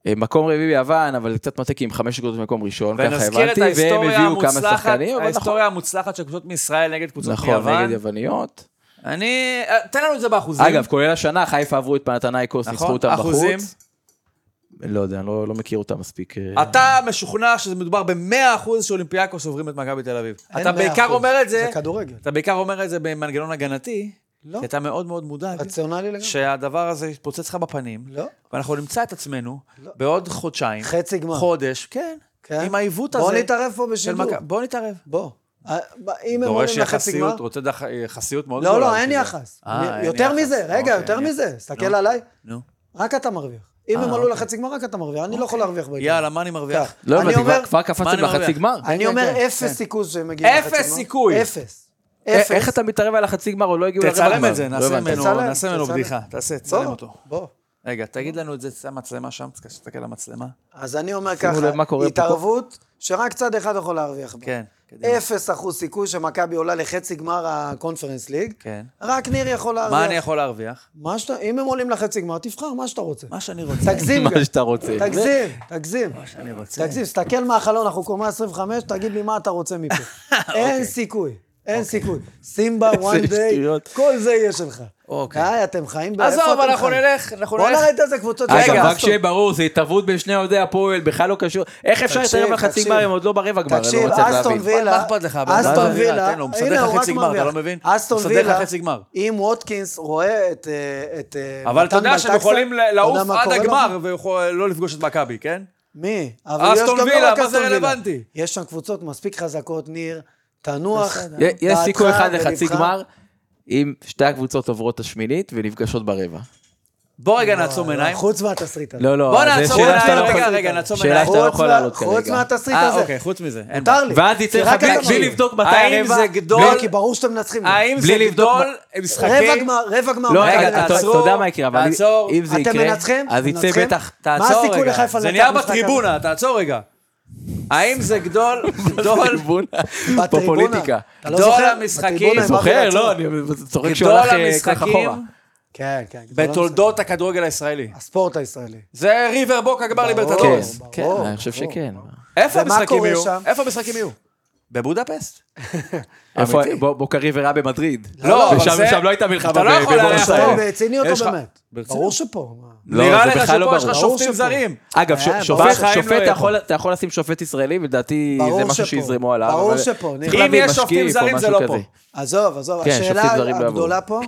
אה, מקום רביעי ביוון, אבל קצת מתק עם חמש נקודות במקום ראשון, ככה
ונזכיר את
הבנתי, והם
ההיסטוריה
הביאו כמה
המוצלחת,
שחקנים, אבל נכון,
ההיסטוריה המוצלחת של קבוצות מישראל נגד קבוצות
נכון, נגד
מיוון.
יווניות.
אני... אה, תן לנו את זה באחוזים.
אגב, כולל השנה, חיפה עברו את פנתנאיקוס,
נכון,
ניצחו אותם
אחוזים.
בחוץ. לא יודע, אני לא לא מכיר אותם מספיק. אה,
כן.
אתה משוכנע שמדובר ב-100% שאולימפיאקוס עוברים את מכבי תל אביב.
אין
אתה
מאה
בעיקר
אחוז.
אומר את זה,
זה כדורגל.
אתה בעיקר אומר את זה במנגנון הגנתי,
לא.
כי אתה מאוד מאוד מודאג,
רציונלי לגמרי.
שהדבר הזה יתפוצץ לך בפנים,
לא.
ואנחנו נמצא את עצמנו בעוד חודשיים,
חצי גמר.
חודש, כן,
כן.
עם העיוות הזה.
בוא נתערב פה
של
בשידור.
מכ- בוא נתערב.
בוא. אה, ב- אם הם
דורש
עולים לחצי גמר...
יחסיות, רוצה דח- יחסיות מאוד
לא,
גדולה.
לא, אין
בשביל זה.
יחס.
אה,
אני-
אין
יותר
יחס.
מזה, רגע,
אוקיי,
יותר
אין
מזה.
יחס.
תסתכל
נו,
עליי,
נו.
רק אתה מרוויח. אם הם עלו לחצי גמר, רק אתה מרוויח. אני לא יכול להרוויח בעיקר.
אה, אוקיי. יאללה, מה אני מרוויח?
כך.
לא
אני
הבנתי,
אומר-
כבר- כבר
מה
קפצתם
אני
לחצי
מרוויח?
גמר?
אני
כן,
אומר
כן,
אפס
כן.
סיכוי שהם מגיעים לחצי גמר.
אפס סיכוי.
אפס.
אה,
אפס.
איך אתה מתערב על החצי גמר, עוד לא הגיעו לרבע גמר?
תצלם את זה,
לא
נעשה
הבנתי.
ממנו-
תצלם,
נעשה ממנו
תצלם. לא,
בדיחה. תעשה,
בוא,
תצלם אותו.
בוא.
רגע, תגיד לנו את זה, שם מצלמה שם, תסתכל על המצלמה.
אז אני אומר
שימו לב מה
ככה,
קורה פה.
התערבות שרק צד אחד יכול להרוויח בה.
כן, קדימה.
אפס אחוז סיכוי שמכבי עולה לחצי גמר הקונפרנס ליג.
כן.
רק ניר יכול להרוויח.
מה אני יכול להרוויח?
מה שאתה, אם הם עולים לחצי גמר, תבחר מה שאתה רוצה.
מה שאני רוצה.
תגזים גם.
מה שאתה רוצה.
תגזים, תגזים.
שאני רוצה.
תגזים, תסתכל מהחלון, אנחנו קומה 25, תגיד לי מה אתה רוצה מפה.
אוקיי.
אין סיכוי, אין סיכוי. סימבה, וואן דיי,
שטויות.
כל זה יהיה שלך.
אוקיי.
די, אתם חיים ב... איפה
עזוב,
אתם
אנחנו
חיים?
נלך, אנחנו
בוא
נלך.
נראה את איזה קבוצות...
רגע,
אגב,
יש.
רק שיהיה ברור, זה התערבות בין שני אוהדי הפועל, בכלל לא קשור. איך אפשר
תקשיב,
להתערב על חצי
תקשיב.
גמר אם עוד לא ברבע גמר? אני לא
תקשיב,
מצליח
אסטון
להבין.
וילה,
מה אכפת לך? הבן אדם?
אסטון
מה זה?
וילה,
תן לו, הוא מסדר
הנה,
לך
הוא רק
חצי גמר, אתה
מרוויח.
לא מבין?
אסטון
מסדר לך
וילה,
חצי גמר.
אם ווטקינס רואה את... אה, את אה,
אבל אתה
מתן
יודע שהם
בלטקסה,
יכולים
אתה יודע
לעוף
מה
עד
קורה לו?
הגמר ולא לפגוש את מכבי, כן?
מי? אבל יש
אסטון
גם לא
וילה,
רק
מה זה
אסטון וילה.
רלוונטי?
יש שם קבוצות מספיק חזקות, ניר. תנוח.
י- יש
דעתך
סיכוי אחד לחצי
ולבך.
גמר אם שתי הקבוצות עוברות את השמינית ונפגשות ברבע.
בוא רגע כן, נעצום
לא, לא,
עיניים.
חוץ מהתסריט הזה.
לא, לא,
בוא
זה
נעצום
שאלה
עיניים,
שאתה לא
רגע,
יכול-
רגע, נעצום
שאלה
עיניים.
שאתה לא
חוץ
יכול
מה-
לעלות כרגע.
חוץ מהתסריט
אה,
הזה.
אוקיי, חוץ מזה. אין
מותר
בעיה.
לי.
ואז יצא
כי
לך
רק
בלי-
אתה
בלי
מקשיב.
לבדוק מתי
האם
הרבע...
זה
לא,
גדול?
כי ברור שאתם מנצחים.
האם זה
בלי לבדוק
גדול אוקיי? משחקים?
רבע גמר, רבע גמר.
לא,
מכבי
רגע,
רגע,
אתה- אתה
חיפה.
תעצור,
יודע מה יקרה, אבל אם-
תעצור.
אם זה
אתם
יקרה,
מנצחים?
אז יצא
מנצחים?
בטח...
מה
תעצור
הסיכוי
רגע.
לחיפה
זה
לנצח
נהיה
במשחק הזה?
בטריבונה, תעצור רגע. האם זה גדול, גדול,
בפוליטיקה.
אתה לא
גדול
זוכר?
המשחקים.
בטריבונה הם באו
זוכר?
לעצור.
לא, אני צוחק שהוא
גדול
הלך אה, כל כך
המשחקים
אחורה.
כן, כן. גדול
בתולדות הכדורגל הישראלי?
המשחק. הספורט הישראלי.
זה ריבר בוקה גמר
ברור.
כן,
ליברטטורס.
ברור,
כן,
ברור.
אני חושב שכן.
איפה
ומה
המשחקים
קורה
יהיו?
שם?
איפה המשחקים יהיו? בבודפסט?
איפה-
אמיתי.
בוא- בוקרי ורע במדריד. אוקיי.
לא, אבל
ששם-
זה-
שם לא הייתה מלחמה
אתה לא
ב-
יכול לארח
בבואנוס איירס.
לא,
אותו.
ברצינות
יש
או
לך-
באמת?
ברצינות.
ברור שפה. מה?
לא,
נראה
זה
לך
בכלל לא
שפה יש לך
ברור.
ברור
שופטים
שפה.
זרים.
אגב, ש-
אה,
שופט,
ברור שחיים לא
שופט
יהיה
אתה
פה.
יכול- אתה יכול לשים שופט ישראלי, ולדעתי
ברור
זה משהו
שפה.
שיזרמו עליו.
ברור
אבל-
שפה, ניר.
צריך
אם
להביא
יש שופטים
משקיף או
זרים, זה
משהו
לא
כזה.
עזוב, עזוב.
כן, שופטים זרים לא
השאלה
יבואו.
הגדולה פה,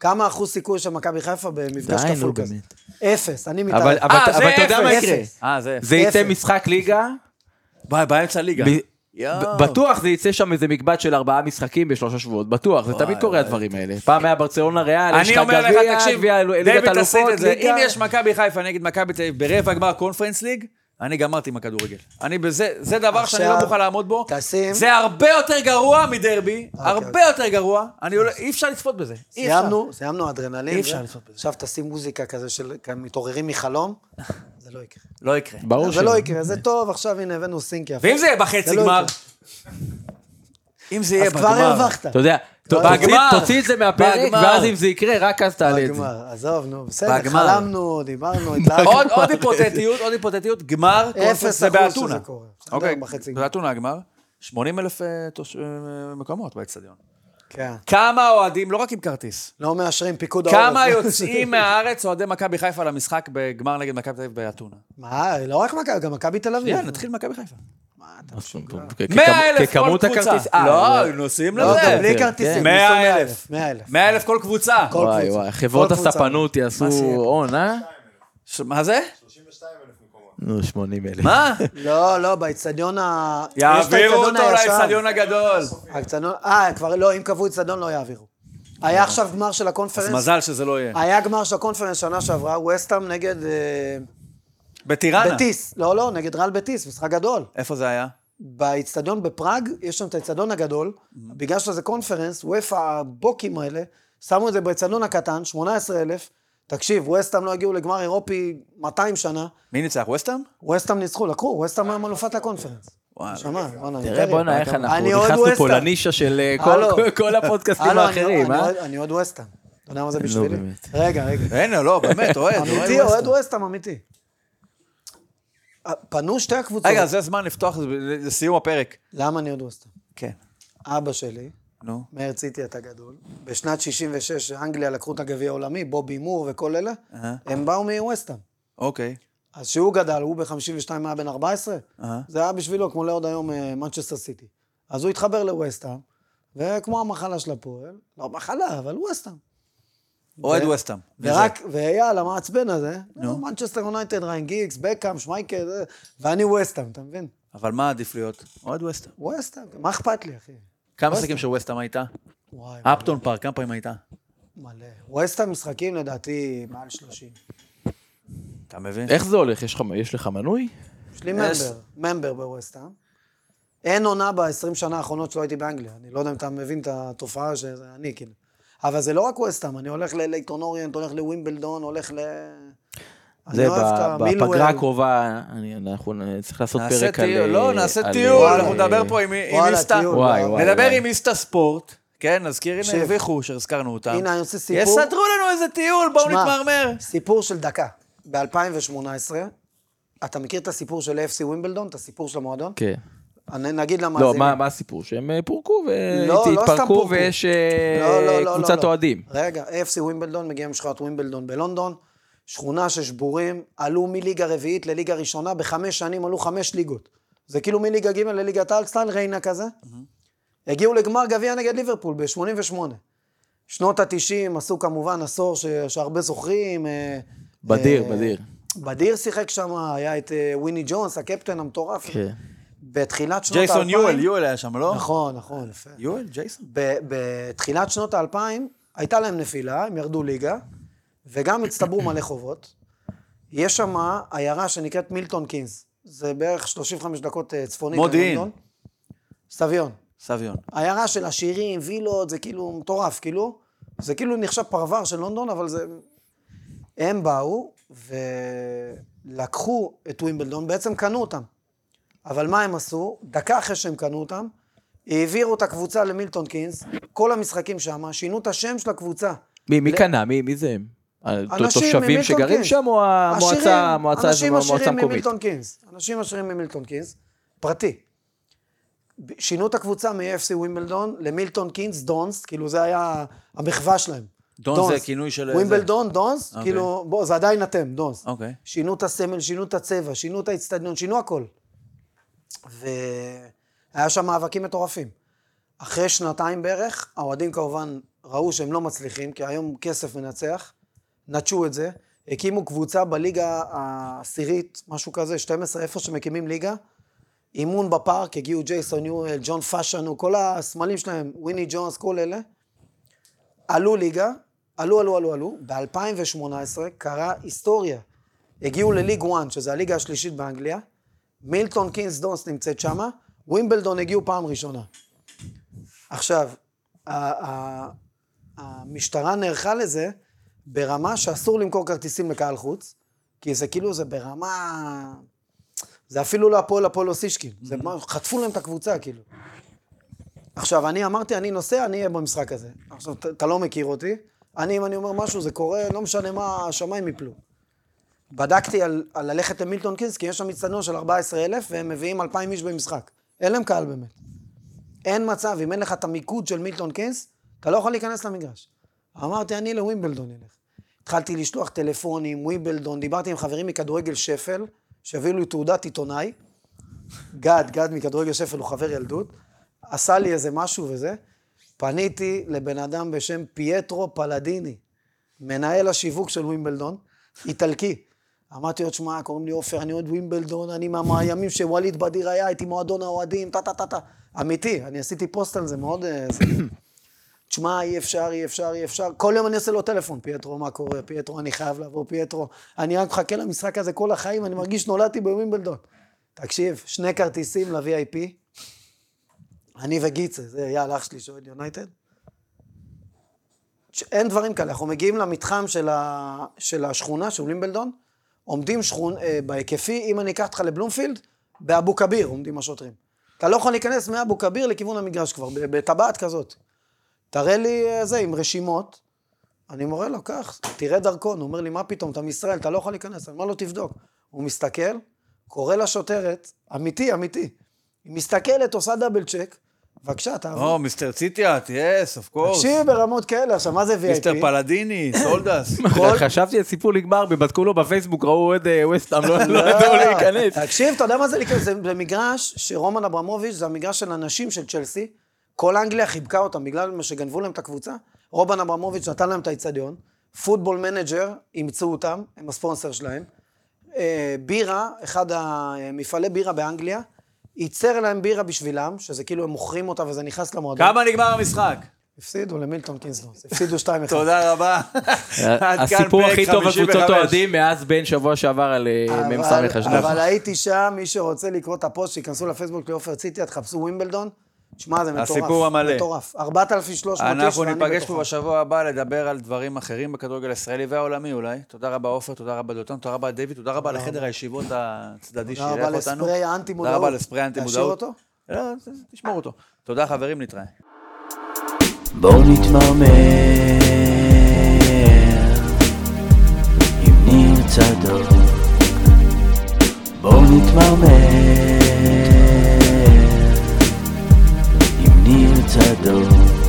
כמה אחוז סיכוי של מכבי חיפה במפגש
די, נו,
כפול כזה?
באמת.
אפס, אני מתערב.
אבל אבל-
אה, זה
אבל אתה יודע מה
אפס.
יקרה.
אה, זה...
זה
אפס.
יצא משחק ליגה,
בא- באמצע הליגה.
ב-
יואו.
ב- בטוח זה יצא שם איזה מקבץ של ארבעה משחקים בשלושה שבועות, בטוח, זה תמיד קורה הדברים האלה. פעם היה ברצלונה ריאל, יש
אני
לך
אומר לך,
גביע,
תקשיב,
גביע אל- ליגת
דיוויד עשית
אלופות,
את זה. אם
ליגה.
יש מכבי חיפה נגד מכבי תל אביב ברבע גמר קונפרנס ליג, אני גמרתי עם הכדורגל. אני בזה, זה דבר שאני
עכשיו,
לא מוכן לעמוד בו.
תשים.
זה הרבה יותר גרוע מדרבי,
אוקיי,
הרבה יותר גרוע. אני עולה- אי אפשר לצפות בזה. אי אפשר.
סיימנו, סיימנו אדרנלין.
אי אפשר
זה-
לצפות בזה.
עכשיו תשים מוזיקה כזה של כאן מתעוררים מחלום, זה לא יקרה.
לא יקרה.
ברור
זה
שלא.
לא יקרה, זה טוב, עכשיו הנה הבאנו סינק יפה.
ואם זה יהיה
זה
בחצי
לא
גמר?
יקרה.
אם זה יהיה
אז כבר
בגמר.
הרווחת.
אתה יודע, ת-
בגמר.
תוציא- תוציא את זה מהפרק,
בגמר.
ואז אם זה יקרה, רק אז תעלה את זה. נכון.
בגמר, עזוב, נו, בסדר,
בגמר.
חלמנו, דיברנו, התלהגנו.
עוד עוד היפותטיות, עוד היפותטיות, גמר קונפרנס
אפס
זה
אחוז שזה
באתונה.
קורה. בסדר,
אוקיי,
בחצי גמר.
באתונה הגמר, 80 אלף אה, מקומות באצטדיון.
כן.
כמה אוהדים, לא רק עם כרטיס,
לא מאשרים פיקוד העורף.
כמה יוצאים מהארץ אוהדי מכבי חיפה למשחק בגמר נגד מכבי תל אביב באתונה?
מה, לא רק מכבי, גם מכבי תל אביב.
יאללה, כן, נתחיל ממכבי חיפה.
כ- כ-
100 אלף כל
ככמות
קבוצה.
הכרטיס- אה,
לא, נוסעים
לא, גם
לזה.
בלי כרטיסים,
100 אלף.
100 אלף.
100 אלף כל קבוצה.
כל
כן. וואי
קבוצה.
וואי, חברות
כל קבוצה.
הספנות יעשו
מה שיהיה.
הון, אה?
ש- מה זה?
נו, 80 אלף.
מה?
לא, לא, באיצטדיון ה... יש את
יעבירו
האיצטדיון
אותו
הישן.
לאצטדיון הגדול.
האיצטדיון... אה, כבר לא, אם קבעו איצטדיון לא יעבירו. היה עכשיו גמר של
אה. אז
הקונפרנס.
מזל שזה לא יהיה.
היה גמר של הקונפרנס שנה שעברה, וסטאם נגד אה,
בטיראנה.
בטיס. לא, לא, נגד ריאל בטיס, משחק גדול.
איפה זה היה?
באיצטדיון בפראג, יש שם את האיצטדיון הגדול, בגלל שזה קונפרנס, וופא הבוקים האלה, שמו את זה באיצטדיון הקטן, 18,000. תקשיב, ווסטהאם לא הגיעו לגמר אירופי 200 שנה,
מי ניצח? ווסטהאם?
ווסטהאם ניצחו, לקחו, ווסטהאם היום אלופת הקונפרנס.
וואלה.
שמע, בואנה,
תראה
אימפריה.
אה, בואנה איך אנחנו
אני עוד
נכנסנו פה
ווסטהאם.
לנישה של אה, כל-
הלו.
כל- כל הפודקאסטים
הלו, לא. אני-
האחרים,
אני
אה? לא,
עוד- אני עוד ווסטהאם. אתה יודע מה זה בשבילי?
באמת.
רגע, רגע.
הנה, לא, באמת, אוהד. אוהד
אמיתי, אוהד
ווסטהאם.
ווסטהאם אמיתי. אה, פנו שתי הקבוצות.
רגע, זה הזמן לפתוח, זה ב- לסיום הפרק.
למה אני עוד ווסטהאם?
כן.
אבא שלי,
נו.
מאיר ציטי אתה גדול, בשנת 66, אנגליה לקחו את הגביע העולמי, בובי מור וכל אלה,
אהה.
הם באו מווסטהאם.
אוקיי.
אז כשהוא גדל, הוא ב-52 היה בן 14,
אהה.
זה היה בשבילו כמו לעוד היום אה, מנצ'סטר סיטי. אז הוא התחבר לווסטהאם, וכמו המחלה של הפועל, לא מחלה, אבל ווסטהאם.
אוהד
ו-
ווסטהאם.
ורק, ויאללה, המעצבן הזה, נו, מנצ'סטר יונייטד, ריין גיגס, בקאם, שמייקל, זה, ואני ווסטהאם, אתה מבין?
אבל מה עדיף להיות? אוהד ווסטהאם.
ווסטהאם, מה אכפת לי, אחי?
כמה משחקים של ווסטהאם הייתה?
וואי,
אפטון פארק, כמה פעמים הייתה?
מלא. ווסטהאם משחקים לדעתי מעל 30.
אתה מבין?
איך זה הולך? יש לך- יש לך מנוי?
יש לי ממבר, ממבר בווסטהאם. אין עונה ב-20 שנה האחרונות שלא הייתי באנגליה. אני לא יודע אם אתה מבין את התופעה שזה אני, כאילו. אבל זה לא רק ווסטהאם, אני הולך ללייטון אוריינט, הולך לווימבלדון, הולך ל... אני לא
זה
אוהב את
ב-
המילואל.
בפגרה הקרובה, אני- אנחנו נ- צריך לעשות
נעשה
פרק על...
טיול, לא,
אה,
נעשה
על,
טיול,
אה,
אנחנו נדבר פה עם עם
וואלה,
איסטה.
טיול.
וואי, וואי.
נדבר עם איסטה ספורט. כן, נזכיר, הנה,
תקשיב.
הרוויחו שהזכרנו אותם.
הנה, אני עושה סיפור.
יסדרו לנו איזה טיול, בואו
שמע,
נתמרמר.
סיפור של דקה. ב-2018, אתה מכיר את הסיפור של AFC ווימבלדון, את הסיפור של המועדון?
כן.
אני- נגיד
לא,
למאזינים.
מה מה הסיפור? שהם אה, פורקו
לא, לא סתם
והתפרקו
פורקו.
ויש אה,
לא, לא, לא, לא,
קבוצת
לא.
אוהדים.
רגע, AFC ווימבלדון, מגיעים משכונת ווימבלדון בלונדון, שכונה ששבורים, עלו מליגה רביעית לליגה ראשונה, בחמש שנים עלו חמש ליגות. זה כאילו מליגה ג' לליגת העל, סטייל ריינה כזה. הגיעו לגמר גביע נגד ליברפול ב-88. שנות ה-90 עשו כמובן עשור ש- שהרבה זוכרים. אה,
בדיר,
אה,
בדיר.
בדיר שיחק שם, היה את אה, וויני ג'ונס, הקפטן המטורף.
כן.
בתחילת שנות האלפיים...
ג'ייסון יואל, יואל היה שם, לא?
נכון, נכון, יפה.
יואל, ג'ייסון.
ב- בתחילת שנות האלפיים, הייתה להם נפילה, הם ירדו ליגה, וגם הצטברו מלא חובות. יש שם עיירה שנקראת מילטון קינס. זה בערך 35 דקות אה, צפונית.
מודיעין.
ללונדון. סביון.
סביון.
עיירה של עשירים, וילות, זה כאילו מטורף, כאילו. זה כאילו נחשב פרבר של לונדון, אבל זה... הם באו ולקחו את ווימבלדון, בעצם קנו אותם. אבל מה הם עשו? דקה אחרי שהם קנו אותם, העבירו את הקבוצה למילטון קינס, כל המשחקים שם, שינו את השם של הקבוצה.
מי, מי קנה? מי, מי זה הם?
אנשים
התושבים
ממילטון
שגרים
קינס.
שם או
עשירים,
המועצה המועצה הזו,
אנשים
המועצה
עשירים
המקומית?
ממילטון קינס. אנשים עשירים ממילטון קינס, פרטי. ב- שינו את הקבוצה מ-FC ווימבלדון למילטון קינס דונס, כאילו זה היה המחווה שלהם.
דונס זה הכינוי של איזה-
ווימבלדון, דונס,
אוקיי.
כאילו, בוא, זה עדיין אתם, דונס.
אוקיי.
שינו את הסמל, שינו את הצבע, שינו את האצטדיון, שינו הכל. והיה שם מאבקים מטורפים. אחרי שנתיים בערך, האוהדים כמובן ראו שהם לא מצליחים, כי היום כסף מנצח, נטשו את זה, הקימו קבוצה בליגה העשירית, משהו כזה, 12, איפה שמקימים ליגה, אימון בפארק, הגיעו ג'ייסון יואל, ג'ון פאשנו, כל הסמלים שלהם, וויני ג'ונס, כל אלה, עלו ליגה, עלו, עלו, עלו, עלו, ב-2018 קרה היסטוריה. הגיעו לליג 1, שזה הליגה השלישית באנגליה, מילטון קינס דונס נמצאת שמה, ווימבלדון הגיעו פעם ראשונה. עכשיו, ה- ה- המשטרה נערכה לזה ברמה שאסור למכור כרטיסים לקהל חוץ, כי זה כאילו, זה ברמה... זה אפילו לא הפועל הפועל אוסישקין, זה מה- חטפו להם את הקבוצה, כאילו. עכשיו, אני אמרתי, אני נוסע, אני אהיה במשחק הזה. עכשיו, ת- אתה לא מכיר אותי, אני, אם אני אומר משהו, זה קורה, לא משנה מה, השמיים יפלו. בדקתי על, על ללכת למילטון קינס, כי יש שם מצטדיון של 14,000, והם מביאים 2,000 איש במשחק. אין להם קהל באמת. אין מצב, אם אין לך את המיקוד של מילטון קינס, אתה לא יכול להיכנס למגרש. אמרתי, אני לווימבלדון אלך. התחלתי לשלוח טלפונים, ווימבלדון, דיברתי עם חברים מכדורגל שפל, שהביאו לי תעודת עיתונאי. גד, גד מכדורגל שפל, הוא חבר ילדות. עשה לי איזה משהו וזה. פניתי לבן אדם בשם פייטרו פלדיני, מנהל השיווק של ווימבלדון, איטלקי. אמרתי לו, שמע, קוראים לי עופר, אני אוהד ווימבלדון, אני מהימים שווליד בדיר היה, הייתי מועדון האוהדים, טה-טה-טה-טה. אמיתי, אני עשיתי פוסט על זה, מאוד... אה, זה. תשמע, אי אפשר, אי אפשר, אי אפשר. כל יום אני עושה לו טלפון, פייטרו, מה קורה? פייטרו, אני חייב לבוא, פייטרו. אני רק מחכה למשחק הזה כל החיים, אני מרגיש נולדתי בווימבלדון. תקשיב, שני כרטיסים ל-VIP, אני וגיצה, זה אייל אח שלי שאוהד יונייטד. ש- אין דברים כאלה, אנחנו מגיעים למתחם של, ה... של השכונה, של לימבלדון, עומדים שכון, אה, בהיקפי, אם אני אקח אותך לבלומפילד, באבו כביר עומדים השוטרים. אתה לא יכול להיכנס מאבו כביר לכיוון המגרש כבר, ב- בטבעת כזאת. תראה לי אה, זה, עם רשימות. אני מורה לו, קח, תראה דרכון. הוא אומר לי, מה פתאום, אתה מישראל, אתה לא יכול להיכנס. אני אומר לו, תבדוק. הוא מסתכל, קורא לשוטרת, אמיתי, אמיתי. היא מסתכלת, עושה דאבל צ'ק, בבקשה, תעבור.
Oh,
או, מיסטר ציטיאט, יס, אוף קורס.
תקשיב ברמות כאלה, עכשיו, מה זה VIP?
מיסטר פלדיני, סולדס.
חשבתי הסיפור נגמר, בדקו לו בפייסבוק, ראו אוהד אה, ווסטהאם, לא לא ידעו להיכנס.
אה, תקשיב, אתה יודע מה זה להיכנס? זה זה מגרש שרומן אברמוביץ', זה המגרש של הנשים של צ'לסי. כל אנגליה חיבקה אותם בגלל מה שגנבו להם את הקבוצה. רומן אברמוביץ' נתן להם את האיצטדיון. פוטבול מנג'ר, אימצו אותם, הם הספונסר שלהם. אה, בירה, אחד המפעלי בירה באנגליה, ייצר להם בירה בשבילם, שזה כאילו הם מוכרים אותה וזה נכנס למועדון.
כמה נגמר המשחק?
הפסידו למילטון קינסלוס, הפסידו 2-1.
תודה רבה. עד כאן
אה, הסיפור
פרק
הכי טוב על
55.
קבוצות אוהדים מאז בין שבוע שעבר על אה, מ"ס
אבל-
אשדוד.
אבל הייתי שם, מי שרוצה לקרוא את הפוסט, שייכנסו לפייסבוק לעופר ציטי, תחפשו ווימבלדון. שמע, זה מטורף.
הסיפור המלא.
מטורף. 4,300 איש,
אנחנו
ואני
ניפגש
בתוכם.
פה בשבוע הבא לדבר על דברים אחרים בכדורגל הישראלי והעולמי אולי. תודה רבה עופר, תודה רבה דותן, תודה רבה דיוויד, תודה רבה לחדר הישיבות הצדדי
תודה
שאירח
רבה
אותנו.
לספרי האנטי-מודעות.
תודה רבה לספרי
להשאיר
האנטי-מודעות.
אותו?
לא, תשמור אותו. תודה חברים, נתראה.
בואו נתמרמר עם ניר צדוק בואו נתמרמר עם ניר צדוק